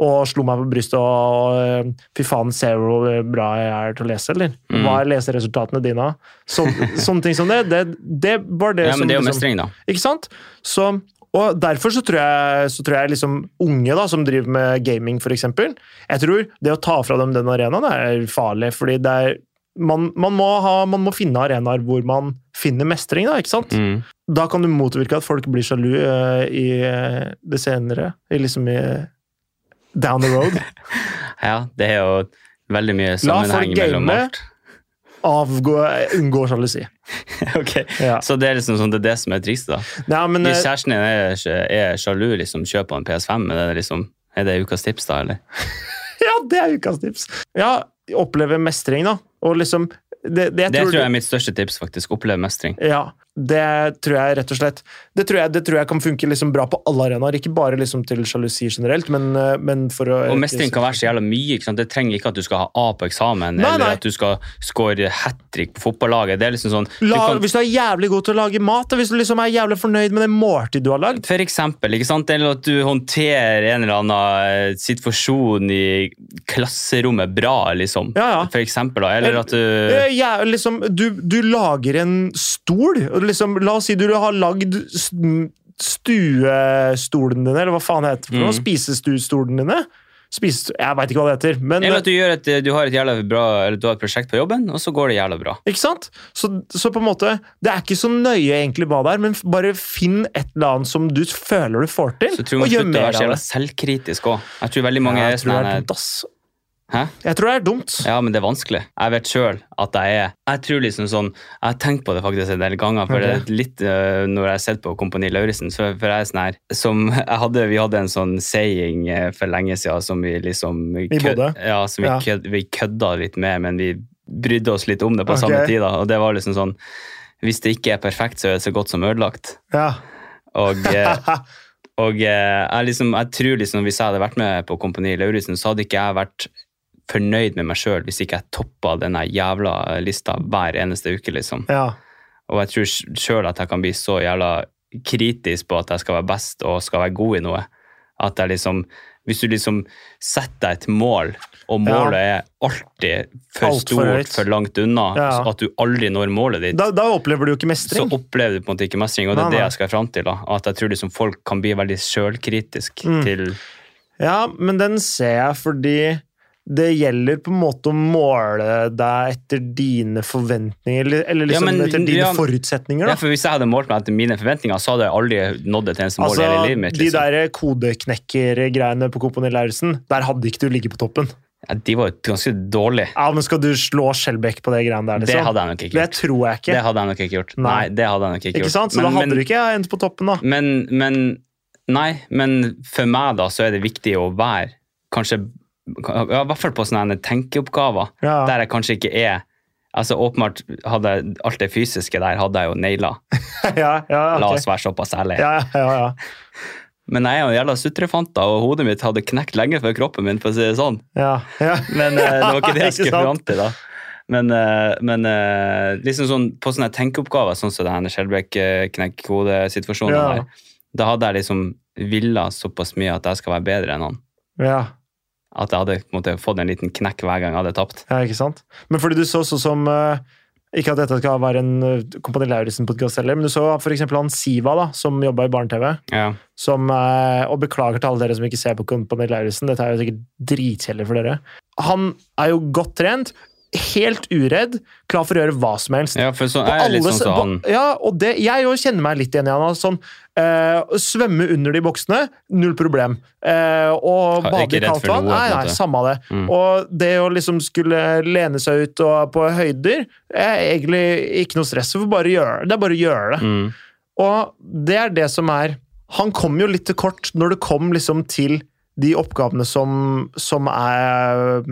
Og slo meg på brystet og eh, Fy faen, ser du hvor bra jeg er til å lese, eller?
Mm.
Hva er leseresultatene dine? av?» Sånn- Sånne ting som det. Det, det var det
ja,
som
men det er jo
liksom-
mestring, da.
ikke sant? Så, og derfor så tror jeg, så tror jeg liksom unge da, som driver med gaming, for eksempel, jeg tror det å ta fra dem den arenaen er farlig, fordi det er man, man, må ha, man må finne arenaer hvor man finner mestring, da, ikke sant?
Mm.
Da kan du motvirke at folk blir sjalu eh, i eh, det senere, i liksom i down the road.
Ja, det er jo veldig mye
La folk
sammenheng mellom
game.
alt.
Avgå, unngå sjalusi.
Ok,
Ja.
Så det er liksom sånn, det er det som er trist, da.
Nei, men,
Hvis
eh,
kjæresten din er, er sjalu, liksom, kjøper han PS5, er det, liksom, er det ukas tips, da? eller?
ja, det er ukas tips. Ja, oppleve mestring, da. Og liksom det, det, jeg
Det
tror
tror jeg er mitt største tips, faktisk. Opplev mestring.
Ja, det tror jeg rett og slett Det tror jeg, det tror jeg kan funke liksom bra på alle arenaer. Ikke bare liksom til sjalusi generelt, men, eh, men for å
Og mestring kan være så jævla mye. ikke sant? Det trenger ikke at du skal ha A på eksamen,
Nei, nei.
eller at du skal score hat trick på fotballaget. Det er liksom sånn, du
La,
kan,
Hvis du er jævlig god til å lage mat, og hvis du liksom er jævlig fornøyd med det måltid du har lagd
For eksempel, ikke sant? eller at du håndterer en eller annen eh, situasjon i klasserommet bra, liksom.
Ja, ja.
For eksempel, da. Eller at du
Eh, ja, liksom, du, du lager en stol. og Liksom, la oss si du har lagd s- stuestolen din, eller hva faen heter det? for noe,
Mm.
Spisestuestolen dine. Spises, jeg veit ikke hva det heter. Men,
Eller at du, gjør et, du har et jævla bra, eller du har et prosjekt på jobben, og så går det jævla bra.
eh, Ikke sant? Så, så på en måte, det er ikke så nøye egentlig hva det er, men f- bare finn et eller annet som du føler du får til,
Så tror jeg
og gjør
man slutter å
mer
være så
av
jævla
det.
selvkritisk òg. Jeg tror veldig mange
Ja,
er
jeg tror
sånn
det er
her,
dumt, ass.
Hæ?
Jeg tror det er dumt.
Ja, men det er vanskelig. Jeg vet sjøl at jeg er Jeg tror liksom sånn Jeg har tenkt på det faktisk en del ganger, for
Ok.
det er litt øh, når jeg har sett på Kompani Lauritzen, så for jeg er sånn her som jeg hadde, Vi hadde en sånn saying eh, for lenge siden som vi liksom kød-
Bodø?
Ja, som vi,
Ja.
kød, vi kødda litt med, men vi brydde oss litt om det på samme
Ok.
tid, da. Og det var liksom sånn Hvis det ikke er perfekt, så er det så godt som ødelagt.
Ja.
Og eh, Og eh, jeg, liksom, jeg tror liksom hvis jeg hadde vært med på Kompani Lauritzen, så hadde ikke jeg vært fornøyd med meg sjøl hvis ikke jeg toppa denne jævla lista hver eneste uke, liksom.
ja.
Og jeg tror sjøl at jeg kan bli så jævla kritisk på at jeg skal være best og skal være god i noe. At jeg liksom Hvis du liksom setter deg et mål, og
Ja.
målet er alltid for
Alt for
stort, for,
høyt.
langt unna,
Ja.
så at du aldri når målet ditt,
Da, da opplever du jo ikke
så
mestring.
opplever du på en måte ikke mestring, og det
Nei,
er det
nei.
jeg skal fram til. da, At jeg tror liksom folk kan bli veldig sjølkritisk
Mm.
til
Ja, men den ser jeg fordi det gjelder på en måte å måle deg etter dine forventninger, eller, eller
Ja,
liksom
men-
etter dine
ja.
forutsetninger,
Ja,
da.
for Hvis jeg hadde målt meg etter mine forventninger, så hadde jeg aldri nådd et eneste mål i hele livet mitt.
Altså, de
Liksom.
der kodeknekker-greiene på Kompani Lauritzen, der hadde ikke du ligget på toppen.
Ja, de var jo ganske dårlige.
Ja, men skal du slå Skjelbæk på det greiene der,
Det
liksom?
hadde jeg nok ikke
Det
gjort.
tror jeg ikke.
Det hadde jeg nok ikke gjort. Nei,
Nei.
det hadde jeg nok ikke gjort.
ikke sant? Så
Men-
da hadde
men-
du ikke endt på toppen, da.
Men, men Nei, men for meg, da, så er det viktig å være kanskje ja, I hvert fall på sånne her tenkeoppgaver,
Ja.
der jeg kanskje ikke er Altså Åpenbart hadde jeg alt det fysiske der hadde jeg jo naila.
ja, ja,
La
ok.
oss være såpass ærlige.
ja, ja, ja,
Men jeg er jo en jævla sutrefant, da, og hodet mitt hadde knekt lenge før kroppen min, for å si det sånn.
ja, ja.
Men eh, det var ikke det jeg
Ikke
skulle
sant?
fram til, da. Men, eh, men eh, liksom sånn, på sånne tenkeoppgaver, sånn som det her
Ja.
Skjelbæk-knekk-kode-situasjonen der, Da hadde jeg liksom villa såpass mye at jeg skal være bedre enn han.
Ja,
At jeg hadde på en måte, fått en liten knekk hver gang jeg hadde tapt.
ja, ikke sant? Men fordi du så sånn som eh, Ikke at dette skal være en eh, Kompani Lauritzen-podkast heller, men du så f.eks. han Siva, da, som jobba i Barne-TV.
Ja.
som, eh, og beklager til alle dere som ikke ser på Kompani Lauritzen, dette er jo sikkert dritkjedelig for dere. Han er jo godt trent, helt uredd, klar for å gjøre hva som helst.
ja, for så,
På
jeg er litt
alle s-
sånn som
på-
han.
Ja, og det, jeg jo kjenner meg litt igjen i han. altså Sånn, eh, å svømme under de boksene, null problem. Eh, og
Ha-
bade i
ikke redd
kaldt
for
vann,
noe, på en
nei, nei,
måte.
samme av det.
Mm.
Og det å liksom skulle lene seg ut og på høyder, er egentlig ikke noe stress. Du får bare gjøre det. Det er bare å gjøre det.
Mm.
Og det er det som er Han kom jo litt til kort når det kom liksom til de oppgavene som, som er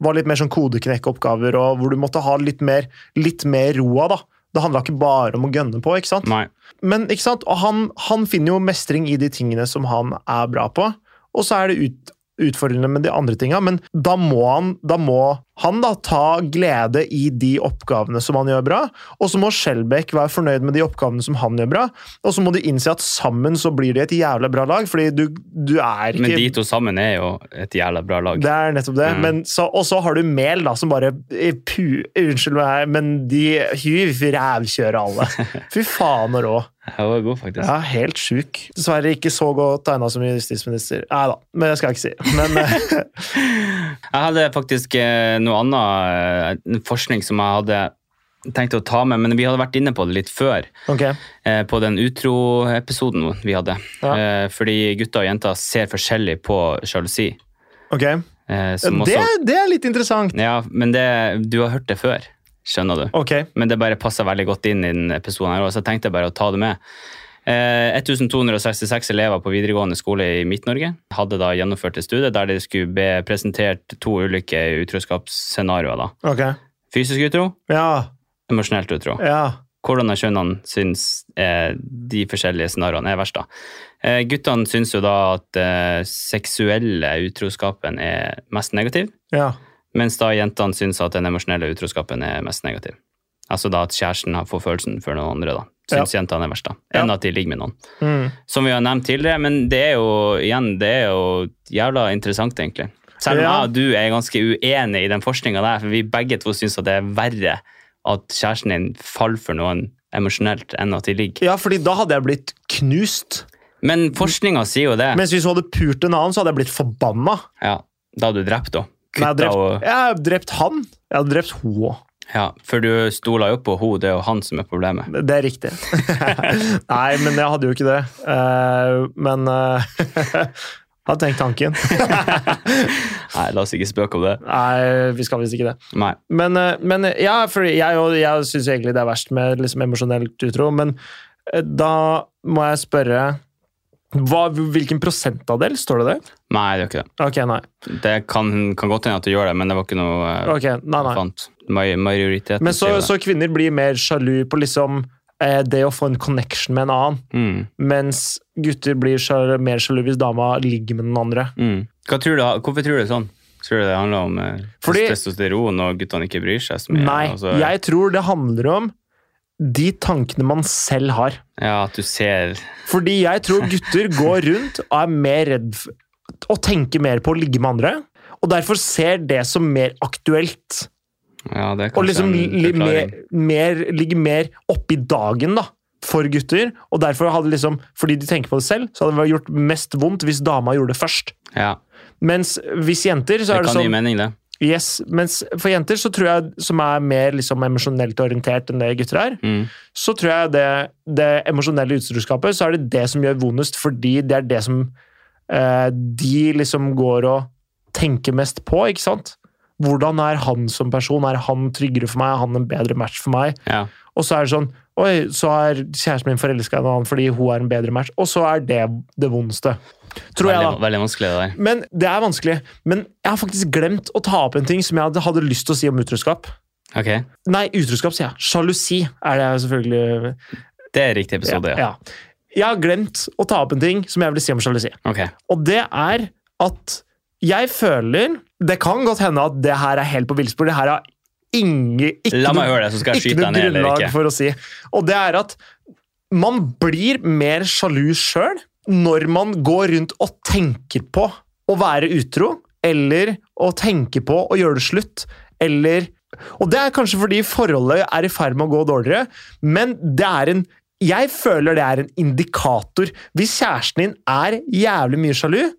Var litt mer sånn kodeknekkeoppgaver, og hvor du måtte ha litt mer, litt mer roa, da. Det handla ikke bare om å gønne på, ikke sant?
Nei.
Men ikke sant? Og han, han finner jo mestring i de tingene som han er bra på, og så er det ut, utfordrende med de andre tinga, men da må han da må han da ta glede i de oppgavene som han gjør bra, og så må Skjelbæk være fornøyd med de oppgavene som han gjør bra, og så må de innse at sammen så blir de et jævla bra lag, fordi du, du er ikke
Men de to sammen er jo et jævla bra lag.
det er nettopp det.
Mm.
Men så, og så har du Mel, da, som bare eh, pu, Unnskyld meg, men de Hun rævkjører alle. Fy faen og rå.
Jeg var god, faktisk.
Ja, helt sjuk. Dessverre ikke så godt tegna som justisminister. Nei da, men det skal jeg ikke si. Men eh,
Jeg hadde faktisk eh, noe annet eh, forskning som jeg hadde tenkt å ta med, men vi hadde vært inne på det litt før,
ok.
eh, på den utro-episoden vi hadde.
Ja.
Eh, Fordi gutter og jenter ser forskjellig på sjalusi.
ok.
eh,
Ja,
som
Det,
også-
det er litt interessant.
Ja, men det, du har hørt det før, skjønner du.
Ok.
Men det bare passer veldig godt inn i den episoden her også, så jeg tenkte bare å ta det med. Eh, 1266 elever på videregående skole i Midt-Norge hadde da gjennomført et studie der de skulle be presentert to ulike utroskapsscenarioer. da.
ok.
Fysisk utro,
Ja.
emosjonelt utro.
Ja.
Hvordan av kjønnene syns eh, de forskjellige scenarioene er verst, da. Eh, guttene syns jo da at eh, seksuelle utroskapen er mest negativ,
Ja.
mens da jentene syns at den emosjonelle utroskapen er mest negativ. Altså da at kjæresten har- får følelsen for noen andre, da. Syns jentene er verst, da.
Ja.
Enn at de ligger med noen.
Mm.
Som vi har nevnt tidligere, men det er jo igjen, det er jo jævla interessant, egentlig. Selv om
Ja.
jeg og du er ganske uenig i den forskninga der, for vi begge to syns at det er verre at kjæresten din faller for noen emosjonelt enn at de ligger.
ja, fordi da hadde jeg blitt knust.
Men forskninga sier jo det.
Mens hvis hun hadde pult en annen, så hadde jeg blitt forbanna.
Ja, da hadde du drept henne.
Men jeg hadde
Kutta
drept,
og
jeg hadde drept han. Jeg hadde drept hun òg.
Ja, for du stoler jo på henne, det er jo han som er problemet.
Det er riktig. Nei, men jeg hadde jo ikke det. Eh, men eh, Hadde tenkt tanken.
Nei, la oss ikke spøke om det.
Nei, vi skal visst ikke det.
Nei.
Men, eh, men ja, fordi jeg, og- jeg syns egentlig det er verst med liksom, emosjonelt utro, men eh, da må jeg spørre hva, Hvilken prosentandel står det det?
Nei, det er jo ikke det.
Ok, nei.
Det kan, kan godt hende at du gjør det, men det var ikke noe eh,
Ok, nei,
jeg
nei.
fant. Maj- Majoriteten
Men
sier
så,
jo det.
så kvinner blir mer sjalu på liksom eh, det å få en connection med en annen,
Mm.
mens gutter blir sjal- mer sjalu hvis dama ligger med den andre.
Mm. Hva tror du, hvorfor tror du det er sånn? Tror du det handler om eh,
Fordi-
testosteron og guttene ikke bryr seg? så mye?
Nei,
Altså,
jeg tror det handler om de tankene man selv har.
Ja, at du ser
Fordi jeg tror gutter går rundt og er mer redd f- og tenker mer på å ligge med andre. Og derfor ser det som mer aktuelt.
Ja, det er
Og
kanskje
liksom
en
li, mer,
forklaring.
mer, ligger mer oppi dagen, da. For gutter. Og derfor hadde liksom, fordi de tenker på det selv, så hadde det gjort mest vondt hvis dama gjorde det først.
Ja,
Mens hvis jenter,
det
så er det
kan gi
sånn
mening, det.
yes, Mens for jenter, så tror jeg, som er mer liksom emosjonelt orientert enn det gutter er,
Mm.
så tror jeg det, det emosjonelle utroskapet, så er det det som gjør vondest, fordi det er det som eh, de liksom går og tenker mest på, ikke sant? Hvordan er han som person? Er han tryggere for meg? Er han en bedre match for meg?
Ja.
Og så er det sånn Oi, så er kjæresten min forelska i en annen fordi hun er en bedre match. Og så er det det vondeste. Tror jeg,
Veldig,
da.
veldig vanskelig, det der.
Men det er vanskelig. Men jeg har faktisk glemt å ta opp en ting som jeg hadde- hadde lyst til å si om utroskap.
Ok,
Nei, utroskap, sier jeg. Sjalusi er det selvfølgelig
Det er riktig episode, ja.
ja. Jeg har glemt å ta opp en ting som jeg ville si om sjalusi.
Ok.
Og det er at jeg føler Det kan godt hende at det her er helt på villspor. Det her har ingen, ikke
La meg
noe-
høre det, så skal jeg
ikke
skyte
noe
deg ned eller
grunnlag
ikke.
for å si. Og det er at Man blir mer sjalu sjøl når man går rundt og tenker på å være utro, eller å tenke på å gjøre det slutt, eller Og det er kanskje fordi forholdet er i ferd med å gå dårligere, men det er en jeg føler det er en indikator. Hvis kjæresten din er jævlig mye sjalu,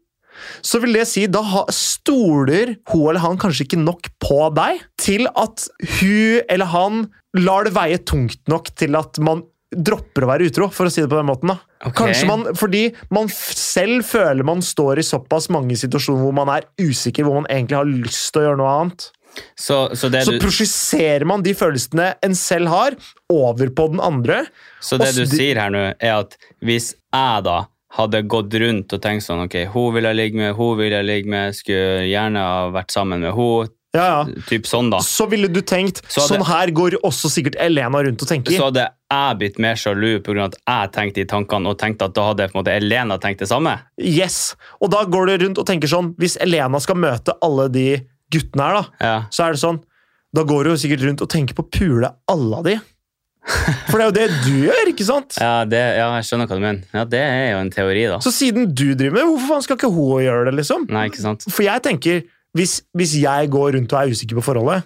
så vil det si da ha- stoler hun eller han kanskje ikke nok på deg til at hun eller han lar det veie tungt nok til at man dropper å være utro, for å si det på den måten. da.
Ok.
Kanskje man, Fordi man f- selv føler man står i såpass mange situasjoner hvor man er usikker, hvor man egentlig har lyst til å gjøre noe annet.
Så, så det
Så
du,
prosjiserer man de følelsene en selv har, over på den andre.
så det du
Ass, det-
sier her nå, er at hvis jeg da hadde gått rundt og tenkt sånn Ok, hun vil jeg ligge med, hun vil jeg ligge med, skulle gjerne ha vært sammen med hun,
Ja, ja.
typ sånn, da.
Så ville du tenkt
Så hadde-
Sånn her går også sikkert Elena rundt og tenker.
Så hadde jeg blitt mer sjalu pga. at jeg tenkte de tankene, og tenkte at da hadde på en måte Elena tenkt det samme.
Yes! Og da går du rundt og tenker sånn Hvis Elena skal møte alle de guttene her, da,
Ja.
så er det sånn Da går du jo sikkert rundt og tenker på å pule alle av de. For det er jo det du gjør, ikke sant?
Ja, det, ja, jeg skjønner hva du mener. Ja, Det er jo en teori, da.
Så siden du driver med det, hvorfor faen skal ikke hun gjøre det, liksom?
Nei, ikke sant?
For jeg tenker, hvis, hvis jeg går rundt og er usikker på forholdet,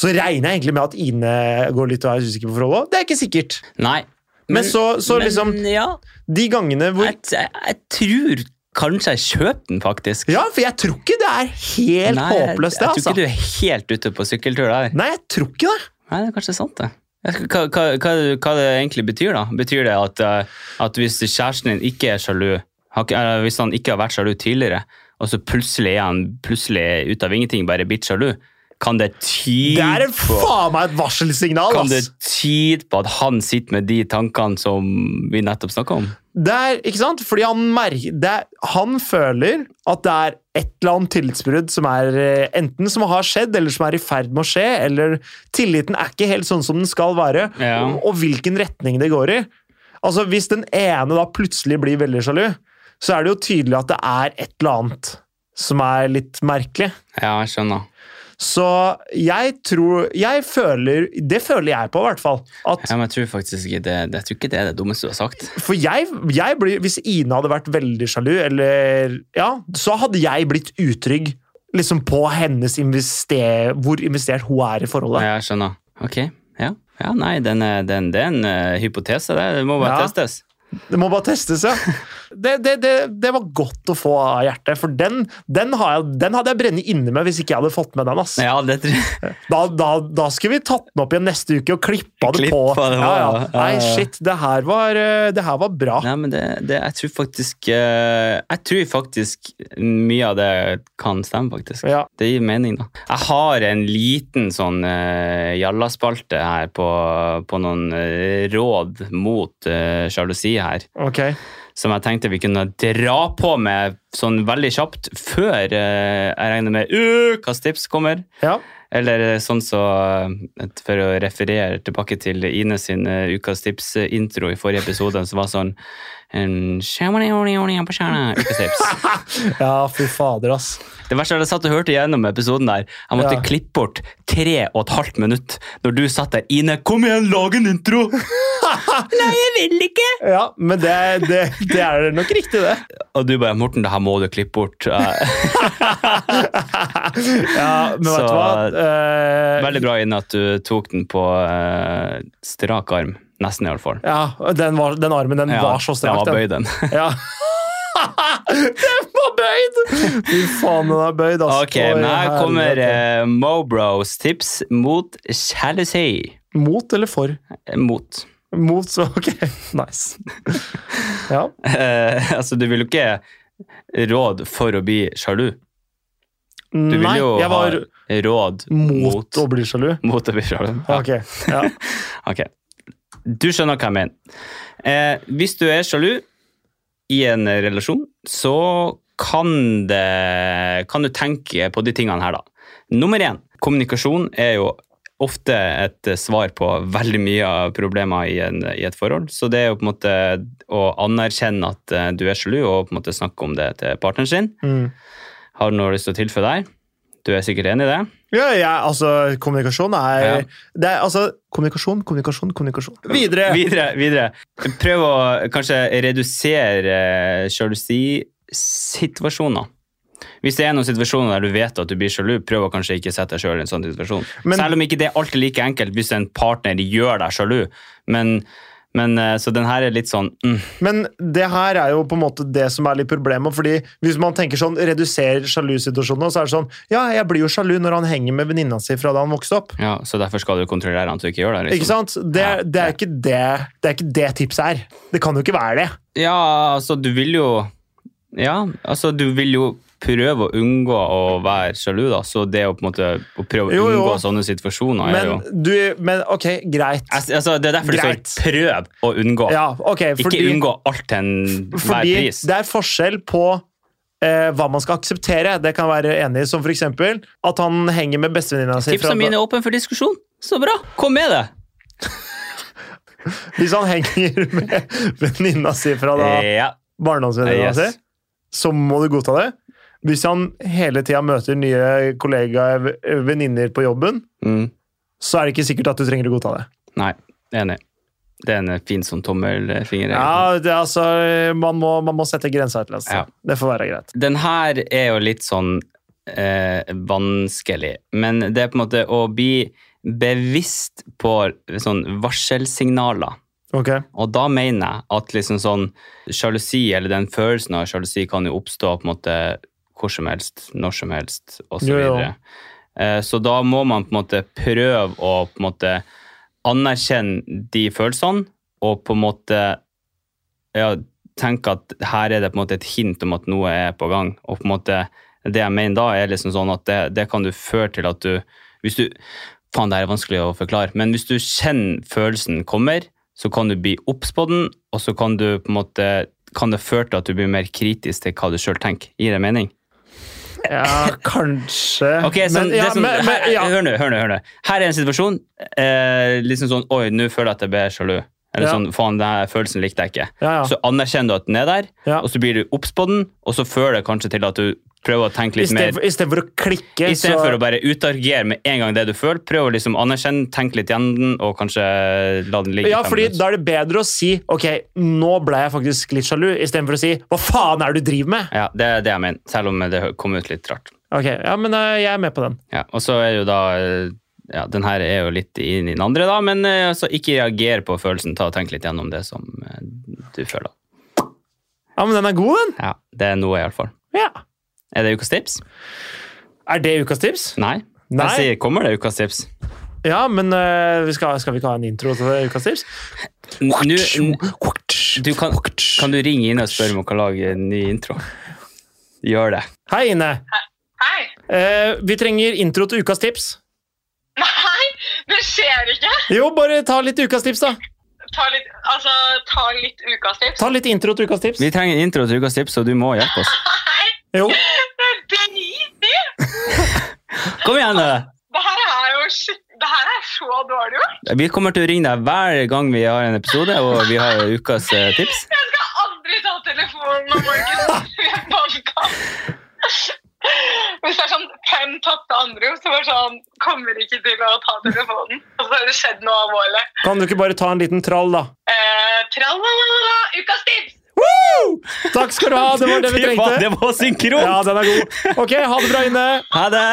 så regner jeg egentlig med at Ine går litt og er usikker på forholdet. Det er ikke sikkert.
Nei.
Men så- så liksom-
Mm, Men ja,
De gangene hvor
jeg, jeg, jeg tror kanskje jeg kjøper den, faktisk.
Ja, for jeg tror ikke det er helt
Nei, jeg-
håpløst, det,
Jeg tror
altså.
ikke du er helt ute på sykkeltur der.
Nei, jeg tror ikke det.
Nei, det er kanskje sant, det. Jeg skal- Hva, hva, hva, hva det egentlig betyr, da? Betyr det at, eh, at hvis kjæresten din ikke er sjalu, har ikke- eller hvis han ikke har vært sjalu tidligere, og så plutselig er han plutselig ut av ingenting bare blitt sjalu, kan det tyde
Det er en
på
faen meg et varselsignal,
kan det
ass.
tyde på at han sitter med de tankene som vi nettopp snakka om?
Det er, ikke sant? Fordi han, merker, det er, han føler at det er et eller annet tillitsbrudd som er eh, enten som har skjedd, eller som er i ferd med å skje, eller tilliten er ikke helt sånn som den skal være,
Ja.
og, og hvilken retning det går i. Altså, Hvis den ene da plutselig blir veldig sjalu, så er det jo tydelig at det er et eller annet som er litt merkelig.
Ja, jeg skjønner.
Så jeg tror Jeg føler Det føler jeg på, i hvert fall. At,
Ja, men jeg tror faktisk ikke det, jeg tror ikke det er det dummeste du har sagt.
for jeg, jeg blir Hvis Ine hadde vært veldig sjalu, eller Ja, så hadde jeg blitt utrygg liksom på hennes investe- hvor investert hun er i forholdet.
Ja, jeg skjønner. Ok, ja. Ja, nei, den er, den, det er en eh, hypotese, det. Det må bare
Ja.
testes.
Det må bare testes, ja. Det, det, det, det var godt å få av hjertet, for den, den, har jeg, den hadde jeg brennet inne med hvis ikke jeg hadde fått med den. ass.
Ja, det tror jeg.
Da, da, da skulle vi tatt den opp igjen neste uke og klippa det på.
Klippa det
ja,
på, ja.
ja.
Ja,
Nei,
ja.
shit, det her var, eh, det her var bra.
Nei, men det, det, jeg tror faktisk eh, Jeg tror faktisk mye av det kan stemme, faktisk.
Ja.
Det gir mening, da. Jeg har en liten sånn eh,jallaspalte her på, på noen eh, råd mot eh, sjalusi her,
Ok.
som jeg tenkte vi kunne dra på med sånn veldig kjapt før eh, jeg regner med ukas tips kommer.
Ja.
Eller sånn så, eh, for å referere tilbake til Ine sin eh, ukas tips-intro i forrige episode, så var sånn en skjermene-ordene på skjermene, ukas tips.
Ja, fy fader, ass.
Det verste er at jeg satt og hørte gjennom episoden der. Jeg måtte
Ja.
klippe bort tre og et halvt minutt når du satt der. Ine, kom igjen, lag en intro! Nei, jeg vil ikke!
Ja, men det, det, det er nok riktig, det.
Og du bare, Morten, det her må du klippe bort. Eh,
Ja, men vet
Så-
du hva? Eh,
Veldig bra, Ine, at du tok den på eh, strak arm. Nesten, i hvert fall.
Ja, den, var, den armen den
Ja,
var så strak,
Ja,
den.
bøy den.
Ja. den var bøyd! Fy faen, den er bøyd, ass.
Ok, men her kommer eh, Mobros tips mot sjalusi.
Mot eller for?
Mot.
Mot, så ok. Nice. Ja.
Eh, altså, du vil jo ikke råd for å bli sjalu. Du vil
Nei,
jo
jeg var
ha råd
mot,
mot,
å bli sjalu.
mot å bli sjalu. Ja,
Ok, ja.
ok. Du skjønner hva jeg mener. Eh, hvis du er sjalu i en relasjon, så kan, det, kan du tenke på de tingene her, da. Nummer én, kommunikasjon er jo ofte et svar på veldig mye av problemer i, en, i et forhold. Så det er jo på en måte å anerkjenne at eh, du er sjalu, og på en måte snakke om det til partneren sin.
Mm.
Har du noe lyst til å tilføye der? Du er sikkert enig i det?
Ja, ja, altså, kommunikasjon er,
Ja.
det er Altså, kommunikasjon, kommunikasjon, kommunikasjon. Videre!
Videre, videre. Prøv å kanskje redusere eh, sjalusisituasjoner. Hvis det er noen situasjoner der du vet at du blir sjalu, prøv å kanskje ikke sette deg sjøl i en sånn situasjon.
Men-
Selv om ikke det er alltid like enkelt hvis en partner gjør deg sjalu. Men, men eh, Så den her er litt sånn mm,
Men det her er jo på en måte det som er litt problemet. fordi Hvis man tenker sånn, reduserer sjalusituasjonene, så er det sånn Ja, jeg blir jo sjalu når han henger med venninna si fra da han vokste opp.
ja, Så derfor skal du kontrollere at du ikke gjør det. liksom.
Ikke sant? Det,
Ja,
det, er ikke det, det er ikke det tipset er. Det kan jo ikke være det.
Ja, altså, du vil jo Ja, altså, du vil jo prøve å unngå å være sjalu, da. Så det å på en måte å prøve å
Jo, jo.
unngå sånne situasjoner er jo
Men, du, men ok, greit.
Altså, altså, det er derfor
Greit.
det står 'prøv å unngå'.
Ja, ok, fordi,
ikke unngå alt til enhver
Fordi
pris.
det er forskjell på eh, hva man skal akseptere. Det kan jeg være enig i, som for eksempel at han henger med bestevenninna si. altså fra-
Tipsene mine er åpne for diskusjon. Så bra! Kom med det!
Hvis han henger med venninna si fra da
Ja.
barndomsvenninna
Yes.
si, så må du godta det. Hvis han hele tida møter nye kollegaer, venninner på jobben,
Mm.
så er det ikke sikkert at du trenger å godta det.
Nei, enig. Det er en fin sånn tommelfinger.
Ja, det, er altså, man må, man må sette grensa et eller annet sted.
Ja.
Det får være greit.
Den her er jo litt sånn eh, vanskelig, men det er på en måte å bli bevisst på sånn varselsignaler.
Ok.
Og da mener jeg at liksom sånn sjalusi, eller den følelsen av sjalusi, kan jo oppstå på en måte hvor som helst, når som helst, osv. Så,
Jo, jo.
videre. Eh, så da må man på en måte prøve å på en måte anerkjenne de følelsene, og på en måte ja, tenke at her er det på en måte et hint om at noe er på gang. Og på en måte, det jeg mener da, er liksom sånn at det, det kan du føre til at du hvis du, Faen, det her er vanskelig å forklare, men hvis du kjenner følelsen kommer, så kan du bli obs på den, og så kan du på en måte kan det føre til at du blir mer kritisk til hva du sjøl tenker? Gir det mening?
Ja, kanskje
Ok, sånn,
Men- ja,
det som,
men- men-
her,
ja.
Hør nå, hør nå. hør nå. Her er en situasjon. Eh, liksom sånn Oi, nå føler jeg at jeg blir sjalu. Eller
Ja.
sånn Faen, denne følelsen likte jeg ikke.
Ja, ja.
Så anerkjenner du at den er der,
Ja.
og så blir du obs på den, og så fører det kanskje til at du prøver å tenke
I
litt
sted-
mer
I stedet for å klikke,
Istedenfor å bare utargere med en gang det du føler, prøv å liksom anerkjenne, tenke litt gjennom den, og kanskje la den ligge i
ja,
fem
fordi
minutter.
Da er det bedre å si ok, nå ble jeg faktisk litt sjalu, istedenfor å si hva faen er det du driver med?
Ja, det er det jeg mener, selv om det kom ut litt rart.
Ok, ja, men eh, jeg er med på den.
Ja, og så er jo da eh, ja, Den her er jo litt inn i den andre, da, men eh, altså, ikke reager på følelsen. Ta og Tenk litt gjennom det som eh, du føler.
Ja, men den er god, den.
Ja, Det er noe, i hvert fall.
Ja.
Er det ukas tips?
Er det ukas tips?
Nei.
Nei.
Jeg sier, kommer det ukas tips?
Ja, men eh, vi skal, skal vi ikke ha en intro til ukas tips?
N- nå- du kan, kan du ringe Ine og spørre om hun kan lage en ny intro? Gjør det.
Hei, Ine.
Hei!
Eh, vi trenger intro til ukas tips.
Nei, det skjer ikke!
Jo, bare ta litt ukas tips, da.
Ta litt, altså, ta litt ukas tips.
Ta litt intro til ukas tips.
Vi trenger en intro til ukas tips, så du må hjelpe oss.
Nei,
Jo.
det er drit i!
Kom igjen! da.
Det her er jo shit, det her er så dårlig gjort.
Vi kommer til å ringe deg hver gang vi har en episode, og vi har ukas eh, tips.
Jeg skal aldri ta telefonen om morgenen. Jeg banker. Hvis det er sånn fem tapte anrop, så bare sånn Kommer ikke til å ta telefonen. Og så har det skjedd noe alvorlig.
Kan du ikke bare ta en liten trall, da?
Eh, Tralalala, ukas tips!
Woo! Takk skal du ha, det var det vi
Fy faen,
trengte.
Det var synkront!
Ja, den er god. Ok, ha det bra inne.
Ha det!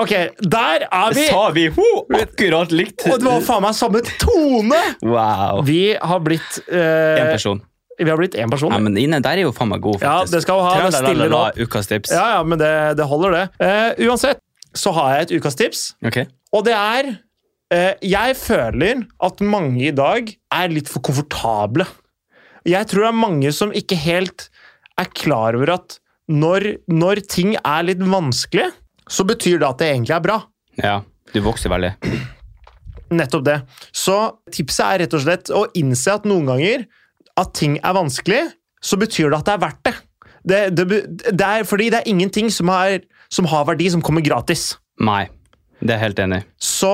Ok, der er vi.
Sa vi ho, akkurat likt?
Og det var faen meg samme tone!
Wow.
Vi har blitt
En
eh,
person.
Vi har blitt én
Ja,
person.
men Ine, der er jo faen meg god,
Ja,
faktisk.
det skal hun ha. Det stiller
Tralalala,
opp.
ukas tips.
Ja, ja, men det, det holder, det. Eh, uansett så har jeg et ukastips,
Ok.
og det er eh, Jeg føler at mange i dag er litt for komfortable. Jeg tror det er mange som ikke helt er klar over at når, når ting er litt vanskelig, så betyr det at det egentlig er bra.
Ja, du vokser veldig.
Nettopp det. Så tipset er rett og slett å innse at noen ganger at ting er vanskelig, så betyr det at det er verdt det. Det, det, be- det er fordi det er ingenting som har, som har verdi, som kommer gratis.
Nei, det er jeg helt enig i.
Så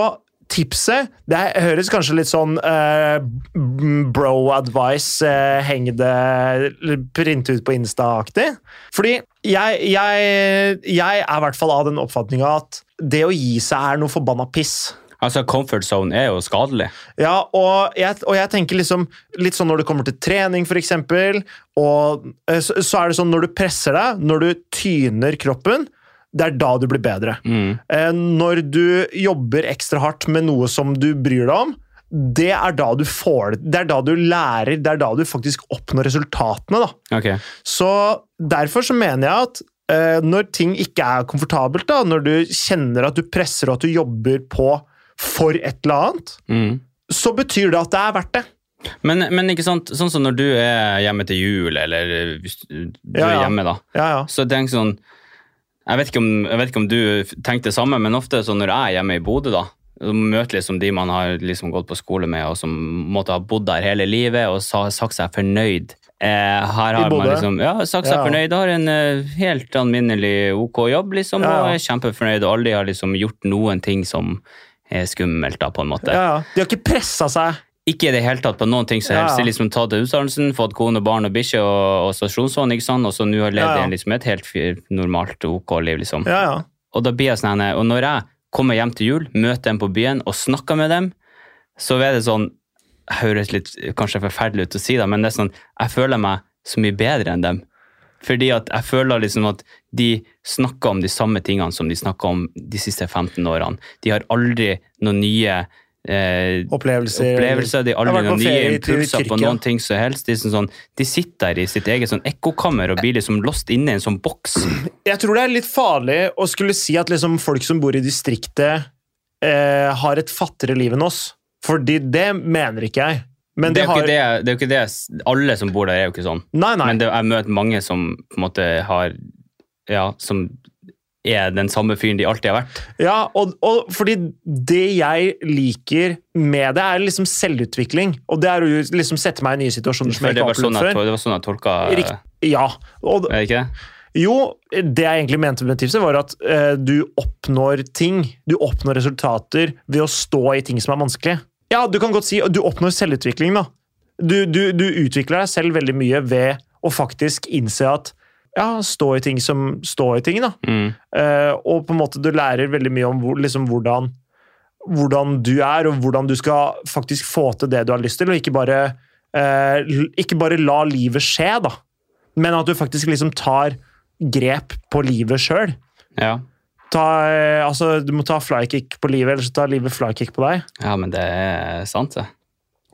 tipset Det er- høres kanskje litt sånn eh, b- bro advice, eh, heng det print ut på Insta-aktig. Fordi jeg, jeg, jeg er i hvert fall av den oppfatninga at det å gi seg er noe forbanna piss.
Altså, comfort zone er jo skadelig.
Ja, og jeg, og jeg tenker liksom litt sånn når det kommer til trening, for eksempel, og eh, så, så er det sånn når du presser deg, når du tyner kroppen, det er da du blir bedre.
Mm.
Eh, Når du jobber ekstra hardt med noe som du bryr deg om, det er da du får det. Det er da du lærer, det er da du faktisk oppnår resultatene, da.
Ok.
Så derfor så mener jeg at eh, når ting ikke er komfortabelt, da, når du kjenner at du presser og at du jobber på for et eller annet,
Mm.
så betyr det at det er verdt det.
Men, men ikke sant, sånn som når du er hjemme til jul, eller hvis du
Ja, ja.
er hjemme, da.
Ja, ja.
Så tenk sånn jeg vet, ikke om, jeg vet ikke om du tenkte det samme, men ofte sånn når jeg er hjemme i Bodø, da, og møter liksom de man har liksom gått på skole med, og som måtte ha bodd der hele livet, og sa, sagt seg fornøyd. Eh, her
I
har man
Bodø?
liksom, ja, sagt seg
Ja.
fornøyd, har en eh, helt alminnelig ok jobb, liksom,
Ja.
og er kjempefornøyd, og aldri har liksom gjort noen ting som er skummelt, da, på en måte.
ja, ja. De har ikke pressa seg.
Ikke i det hele tatt på noen ting som
Ja,
helst.
ja.
Liksom tatt utdannelsen, fått kone, barn og bikkje og, og stasjonsvann, ikke sant? Og så nå har levd
Ja, ja.
jeg liksom et helt fyr- normalt ok liv, liksom.
Ja, ja.
Og da blir jeg sånn, her, og når jeg kommer hjem til jul, møter dem på byen og snakker med dem, så er det sånn, høres litt kanskje forferdelig ut å si det, men det er sånn, jeg føler meg så mye bedre enn dem. Fordi at jeg føler liksom at de snakker om de samme tingene som de snakker om de siste 15 årene. De har aldri noen nye eh,
Opplevelser.
opplevelser. De har
Jeg
aldri
har vært på
noen nye
ferie i Ty-
impulser på
Tyrkia.
noen ting som helst. De, er sånn, sånn, de sitter der i sitt eget sånn ekkokammer og blir liksom lost inne i en sånn boks.
Jeg tror det er litt farlig å skulle si at liksom folk som bor i distriktet, eh, har et fattigere liv enn oss. Fordi det mener ikke jeg. Men de
det, er jo
har
ikke det, jeg- det er jo ikke det jeg s- Alle som bor der, er jo ikke sånn.
Nei, nei.
Men det, jeg møter mange som på en måte har Ja, som er den samme fyren de alltid har vært.
Ja, og, og fordi det jeg liker med det, er liksom selvutvikling. Og det er å liksom sette meg i nye situasjoner som
For
jeg
det,
ikke har
var sånn
opplevd før.
jeg, tol- det var sånn jeg tolka
Rikt- Ja. Og,
Er det ikke det?
jo, det jeg egentlig mente med tipset, var at eh, du oppnår ting. Du oppnår resultater ved å stå i ting som er vanskelig. Ja, du kan godt si at du oppnår selvutvikling, da. Du, du, du utvikler deg selv veldig mye ved å faktisk innse at ja, stå i ting som stå i ting, da.
Mm.
Eh, og på en måte du lærer veldig mye om hvor, liksom, hvordan, hvordan du er, og hvordan du skal faktisk få til det du har lyst til, og ikke bare, eh, l- ikke bare la livet skje, da. Men at du faktisk liksom tar grep på livet sjøl.
Ja.
Eh, altså, du må ta flykick på livet, eller så tar livet flykick på deg.
ja, men det er sant, det.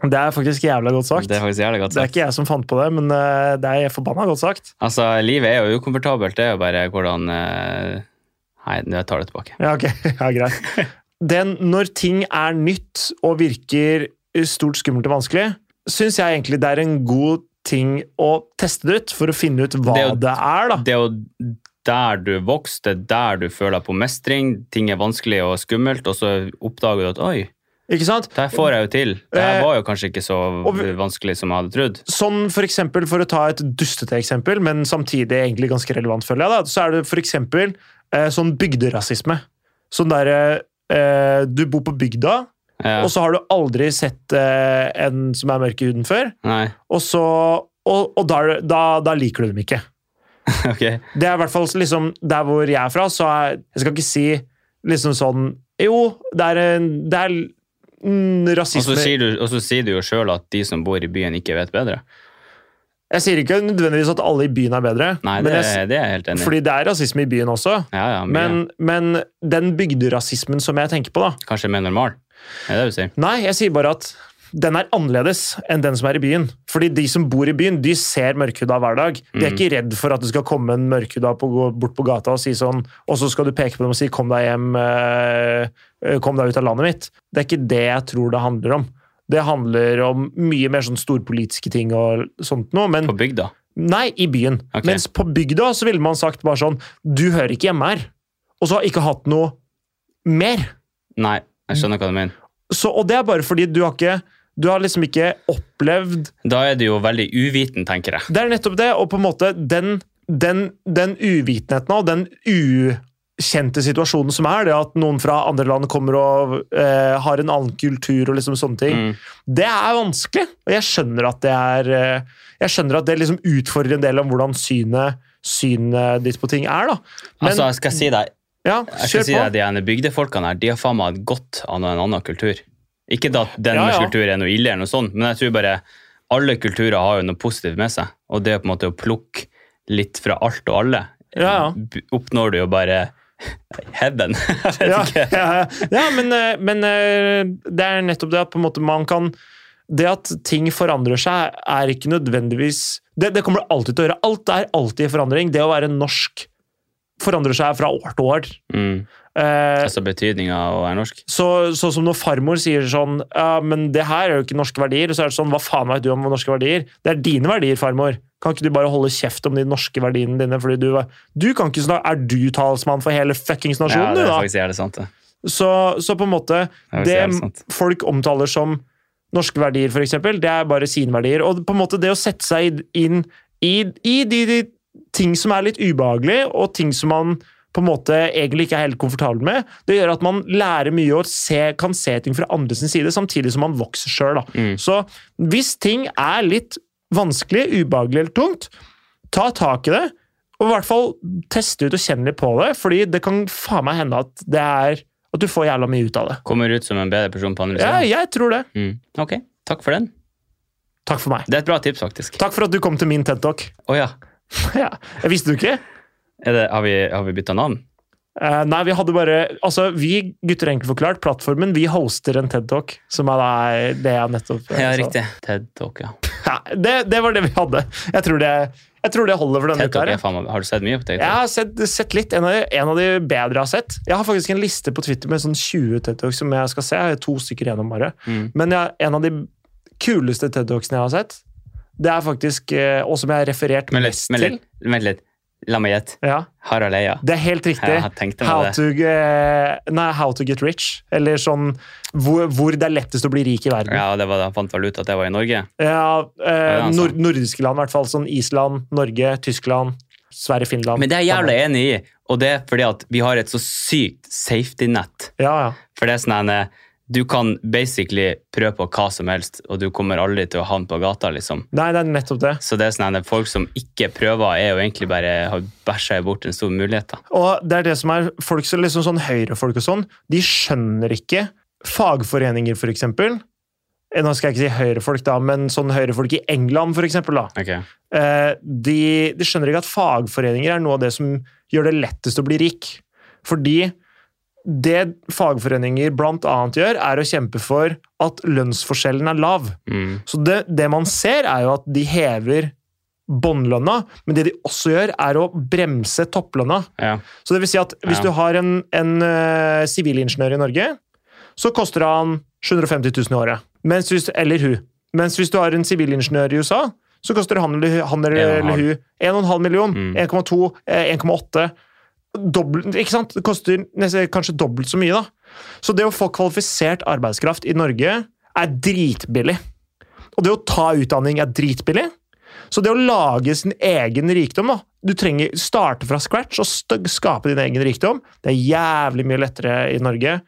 Det er faktisk jævla godt sagt.
Det
Det
er
er,
faktisk jævlig godt sagt.
ikke jeg som fant på det, men eh, det er forbanna godt sagt.
Altså, livet er jo ukomfortabelt. Det er jo bare hvordan eh, Nei, jeg tar det tilbake.
Ja, ok. Ja, greit. Den, når ting er nytt og virker stort, skummelt og vanskelig, syns jeg egentlig det er en god ting å teste det ut for å finne ut hva det
Det
er.
er jo-
da.
Det er jo der du vokser, det er der du føler på mestring. Ting er vanskelig og skummelt, og så oppdager du at oi,
Ikke sant?
det her får jeg jo til. Det
Eh,
her var jo kanskje ikke så
og vi-
vanskelig som jeg hadde trodd.
Sånn for eksempel, for å ta et dustete eksempel, men samtidig egentlig ganske relevant, føler jeg, da, så er det for eksempel eh, sånn bygderasisme. Sånn derre eh, Du bor på bygda,
Ja,
og så har du aldri sett eh, en som er mørk i huden før,
nei,
og, så, og, og da, er det- da, da liker du dem ikke.
ok.
Det er i hvert fall liksom der hvor jeg er fra, så er Jeg skal ikke si liksom sånn Jo, det er en Det er mm,
Og så
rasisme
sier du, og så sier du jo sjøl at de som bor i byen, ikke vet bedre.
Jeg sier ikke nødvendigvis at alle i byen er bedre,
Nei,
men
det,
jeg,
det er jeg helt
s-
enig i.
fordi det er rasisme i byen også.
Ja, ja, mye.
Men, men den bygderasismen som jeg tenker på, da
Kanskje mer normal. Er det det du sier?
Nei, jeg sier bare at den er annerledes enn den som er i byen. Fordi de som bor i byen, de ser mørkhuda hver dag. De er
Mm.
ikke redd for at det skal komme en mørkhuda på, gå bort på gata og si sånn, og så skal du peke på dem og si 'kom deg hjem, eh, eh, kom deg ut av landet mitt'. Det er ikke det jeg tror det handler om. Det handler om mye mer sånn storpolitiske ting og sånt noe, men
På bygda.
nei, i byen.
Ok.
Mens på bygda så ville man sagt bare sånn 'du hører ikke hjemme her', og så har ikke hatt noe mer.
Nei, jeg skjønner hva du mener.
Så, og det er bare fordi du har ikke du har liksom ikke opplevd
Da er det jo veldig uviten, tenker jeg.
Det er nettopp det, og på en måte den, den, den uvitenheten og den u, kjent i situasjonen som er, det at noen fra andre land kommer og eh, har en annen kultur og liksom sånne ting,
Mm.
det er vanskelig. Og jeg skjønner at det er eh, Jeg skjønner at det liksom utfordrer en del om hvordan synet synet ditt på ting er, da. Men
altså, jeg skal si deg,
ja,
jeg
kjør
skal si
på.
deg de ene bygdefolkene her, de har faen meg godt av en annen kultur. Ikke da at den
Ja, ja.
kultur er noe ille, eller noe sånt, men jeg tror bare alle kulturer har jo noe positivt med seg. Og det på en måte å plukke litt fra alt og alle,
Ja, ja.
b- oppnår du jo bare heaven. jeg vet
ja,
ikke.
ja, ja. ja men, eh, men eh, det er nettopp det at på en måte man kan Det at ting forandrer seg, er ikke nødvendigvis Det, det kommer det alltid til å gjøre. Alt er alltid i forandring. Det å være norsk forandrer seg fra år til år.
Mm.
Eh,
Altså betydninga av å være norsk.
så, så som når farmor sier sånn ja, men det her er jo ikke norske verdier, så er det sånn hva faen vet du om norske verdier? Det er dine verdier, farmor. Kan ikke du bare holde kjeft om de norske verdiene dine? fordi du, du kan ikke snakke, Er du talsmann for hele fuckings
Ja,
nasjonen,
det er
du, da?
faktisk jævlig sant, det.
Så, så på en måte
Det er faktisk
det
jævlig sant.
folk omtaler som norske verdier, for eksempel, det er bare sine verdier. Og på en måte det å sette seg inn i, i de, de ting som er litt ubehagelige, og ting som man på en måte egentlig ikke er helt komfortabel med, det gjør at man lærer mye og se, kan se ting fra andre sin side, samtidig som man vokser sjøl.
Mm.
Så hvis ting er litt vanskelig, ubehagelig eller tungt, ta tak i det. Og i hvert fall teste ut og kjenne litt på det, fordi det kan faen meg hende at det er at du får jævla mye ut av det.
Kommer ut som en bedre person på andre
Ja,
siden.
jeg tror det.
Mm. Ok, takk for den.
Takk for meg.
Det er et bra tips, faktisk.
Takk for at du kom til min TED Talk.
Å ja.
ja. Jeg visste du ikke?
Er det, har vi, har vi bytta navn?
Eh, nei, vi hadde bare Altså, vi gutter enkelt forklart, plattformen, vi hoster en TED Talk, som er da det jeg nettopp
Ja,
sa.
riktig. TED Talk, ja.
Ja, det, det var det vi hadde. Jeg tror det, jeg tror det holder for denne
TED
uka.
Talk
her,
er
jeg.
faen meg Har du sett mye på TED
Jeg
Talk?
har sett, sett litt. En av, de, en av de bedre jeg har sett. Jeg har faktisk en liste på Twitter med sånn 20 TED Talks som jeg skal se. Jeg har to stykker igjennom bare.
Mm.
Men jeg, en av de kuleste TED Talksene jeg har sett, det er faktisk eh, Og som jeg har referert
Vent litt,
mest
vent
til.
litt. Vent litt. La meg gjette.
Ja,
Harald Eia.
det er helt riktig.
Jeg tenkte
How
meg det.
to, eh, nei, how to get rich. Eller sånn hvor, hvor det er lettest å bli rik i verden. Ja.
Ja, det var da han fant vel ut at det var i Norge.
eh,
Ja, sant.
nord nordiske land, i hvert fall. Sånn Island, Norge, Tyskland, Sverige, Finland.
Men det er jeg jævlig enig i, og det er fordi at vi har et så sykt safety-nett.
Ja, ja.
For det er sånn en eh, Du kan basically prøve på hva som helst, og du kommer aldri til å havne på gata, liksom.
Nei, det er nettopp det.
Så det er sånn en, folk som ikke prøver, er jo egentlig bare har bæsja bort en stor mulighet, da.
Og det er det som er folk som liksom sånn høyrefolk og sånn, de skjønner ikke fagforeninger, for eksempel. Eh, Nå skal jeg ikke si høyrefolk, da, men sånn høyrefolk i England, for eksempel, da.
Ok.
Eh, de, de skjønner ikke at fagforeninger er noe av det som gjør det lettest å bli rik. Fordi det fagforeninger bl.a. gjør, er å kjempe for at lønnsforskjellen er lav.
Mm.
Så det, det man ser, er jo at de hever båndlønna, men det de også gjør, er å bremse topplønna.
Ja.
Så det vil si at hvis
Ja.
du har en, en eh, sivilingeniør i Norge, så koster han 750 000 i året. Mens hvis, eller hun. Mens hvis du har en sivilingeniør i USA, så koster han eller, han eller,
En og en halv.
eller hun 1,5 million,
Mm.
1,2, eh, 1,8. Dobbelt, ikke sant? Det koster nesten, kanskje dobbelt så mye, da. Så det å få kvalifisert arbeidskraft i Norge er dritbillig. Og det å ta utdanning er dritbillig. Så det å lage sin egen rikdom da, Du trenger starte fra scratch og st skape din egen rikdom. Det er jævlig mye lettere i Norge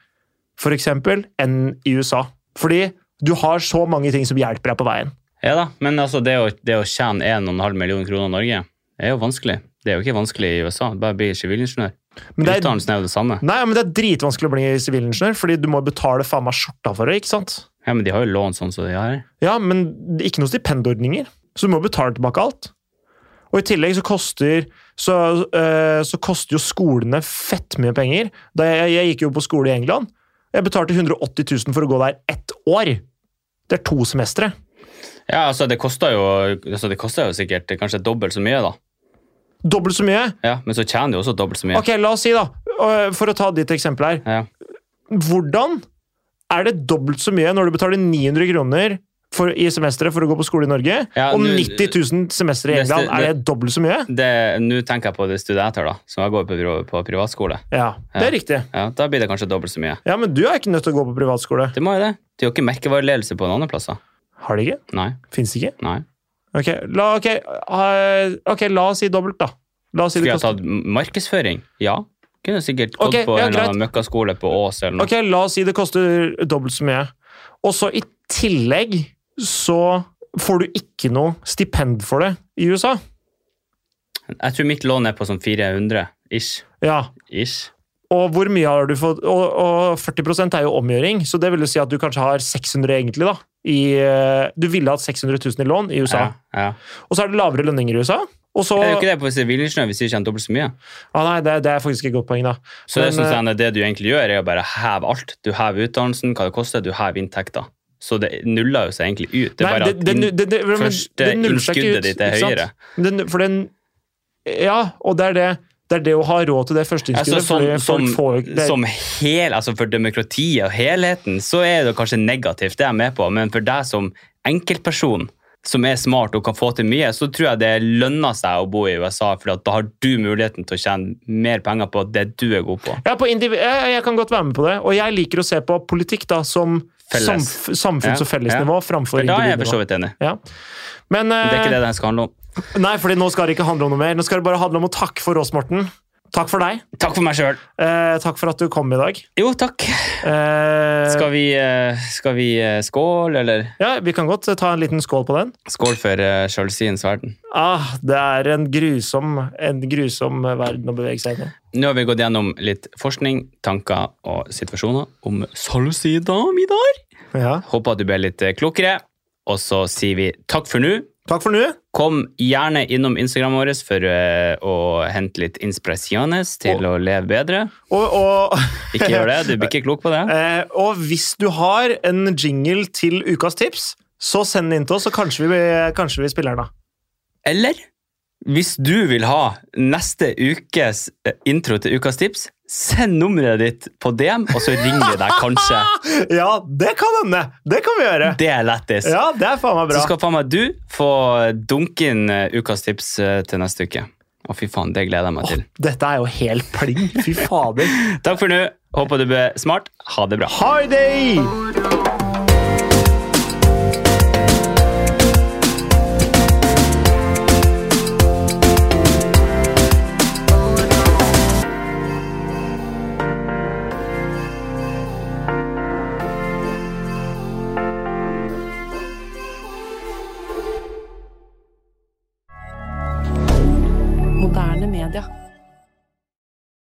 for eksempel, enn i USA. Fordi du har så mange ting som hjelper deg på veien.
Ja da, men altså det å, det å tjene 1,5 million kroner i Norge er jo vanskelig. Det er jo ikke vanskelig i USA. Bare bli sivilingeniør.
Men det er,
Utdannelsen er jo det samme.
nei, men det er dritvanskelig å bli sivilingeniør, fordi du må betale faen meg skjorta for det. ikke sant?
Ja, Men de har jo lån sånn som de har.
Ja, men ikke noen stipendordninger, så du må betale tilbake alt. Og i tillegg så koster, så, øh, så koster jo skolene fett mye penger. Da jeg, jeg gikk jo på skole i England. Jeg betalte 180 000 for å gå der ett år. Det er to semestre.
Ja, altså det koster jo, altså det koster jo sikkert kanskje dobbelt så mye, da.
Dobbelt så mye.
Ja, Men så tjener de jo også dobbelt så mye.
Ok, la oss si, da, øh, for å ta ditt eksempel her
Ja.
Hvordan er det dobbelt så mye når du betaler 900 kroner for, i semesteret for å gå på skole i Norge,
Ja,
og
nå-
90 000 semester i
Neste-
England? Er det dobbelt så mye?
Det- Nå tenker jeg på det studenter, da, som jeg går på, pri- på privatskole.
Ja, det er riktig.
Ja, Da blir det kanskje dobbelt så mye.
Ja, men du er ikke nødt til å gå på privatskole.
Det må jo det. De har ikke merkevareledelse på noen andre plasser.
Har de ikke?
Nei.
Fins ikke?
nei.
Ok, la, ok, eh, ok, la oss si dobbelt, da. La oss si
Skulle
det
jeg
koster
tatt markedsføring? Ja. Kunne sikkert gått
Ok,
på
ja,
en eller annen møkkaskole på Ås eller noe.
Ok, la oss si det koster dobbelt så mye. Og så i tillegg så får du ikke noe stipend for det i USA.
Jeg tror mitt lån er på sånn 400 ish.
Ja,
ish.
og hvor mye har du fått? Og, og 40 er jo omgjøring, så det vil jo si at du kanskje har 600 egentlig, da. I, eh, du ville hatt 600 000 i lån i USA.
Ja, ja.
Og så er det lavere lønninger i USA. Og så
Det er jo ikke det på sivilingeniør hvis du ikke har dobbelt så mye.
ah, Nei, det, det er faktisk et godt poeng, da.
Så det,
Men, eh,
synes jeg, er det du egentlig gjør, er å bare heve alt. Du hever utdannelsen, hva det koster, du hever inntekter. Så det nuller jo seg egentlig ut. Det er
Nei,
bare at
det- det- det- det- men
første
det nuller seg ikke ut,
innskuddet ditt er
ikke sant?
høyere.
Men Den, for den, ja, og det er det, det er det å ha råd til det første
Altså,
innskuddet.
som,
fordi
som,
folk får jo ikke- det,
som hel, altså for demokratiet og helheten, så er det kanskje negativt, det er jeg med på, men for deg som enkeltperson, som er smart og kan få til mye, så tror jeg det lønner seg å bo i USA, for da har du muligheten til å tjene mer penger på det du er god på.
Ja, på indiv jeg, jeg kan godt være med på det, og jeg liker å se på politikk da som
Felles.
samf samfunns- og
Ja,
fellesnivå framfor
For da er jeg for så
individnivå.
vidt enig.
Ja. Men
Det er ikke
eh,
det det skal handle om.
Nei, fordi nå skal det ikke handle om noe mer. Nå skal det bare handle om å takke for oss, Morten. Takk for deg.
Takk for meg sjøl.
Eh, takk for at du kom i dag.
Jo, takk.
Eh,
Skal vi, eh, skal vi eh, skål, eller?
Ja, vi kan godt ta en liten skål på den.
Skål for eh, sjalusiens verden.
Ah, det er en grusom, en grusom verden å bevege seg inn i.
Nå har vi gått gjennom litt forskning, tanker og situasjoner om sjalusidamidaer.
Ja.
Håper at du ble litt eh, klokere. Og så sier vi takk for nå.
Takk for nå.
Kom gjerne innom Instagram vår for eh, å hente litt inspirasjones til å leve bedre.
Og, og,
Ikke gjør det, du blir ikke klok på det.
eh, og hvis du har en jingle til ukas tips, så send den inn til oss, så kanskje vi, kanskje vi spiller den da.
Eller hvis du vil ha neste ukes eh, intro til ukas tips, send nummeret ditt på DM, og så ringer vi deg kanskje.
Ah, Ja, det kan hende! Det kan vi gjøre.
Det er lættis.
Ja, det er faen meg
Så
bra.
skal faen meg du få dunke inn eh, ukas tips eh, til neste uke. Å, fy faen, det gleder jeg meg til.
Dette er jo helt pling. Fy fader.
Takk for nå. Håper du ble smart. Ha det bra.
Heidi!
Moderne media.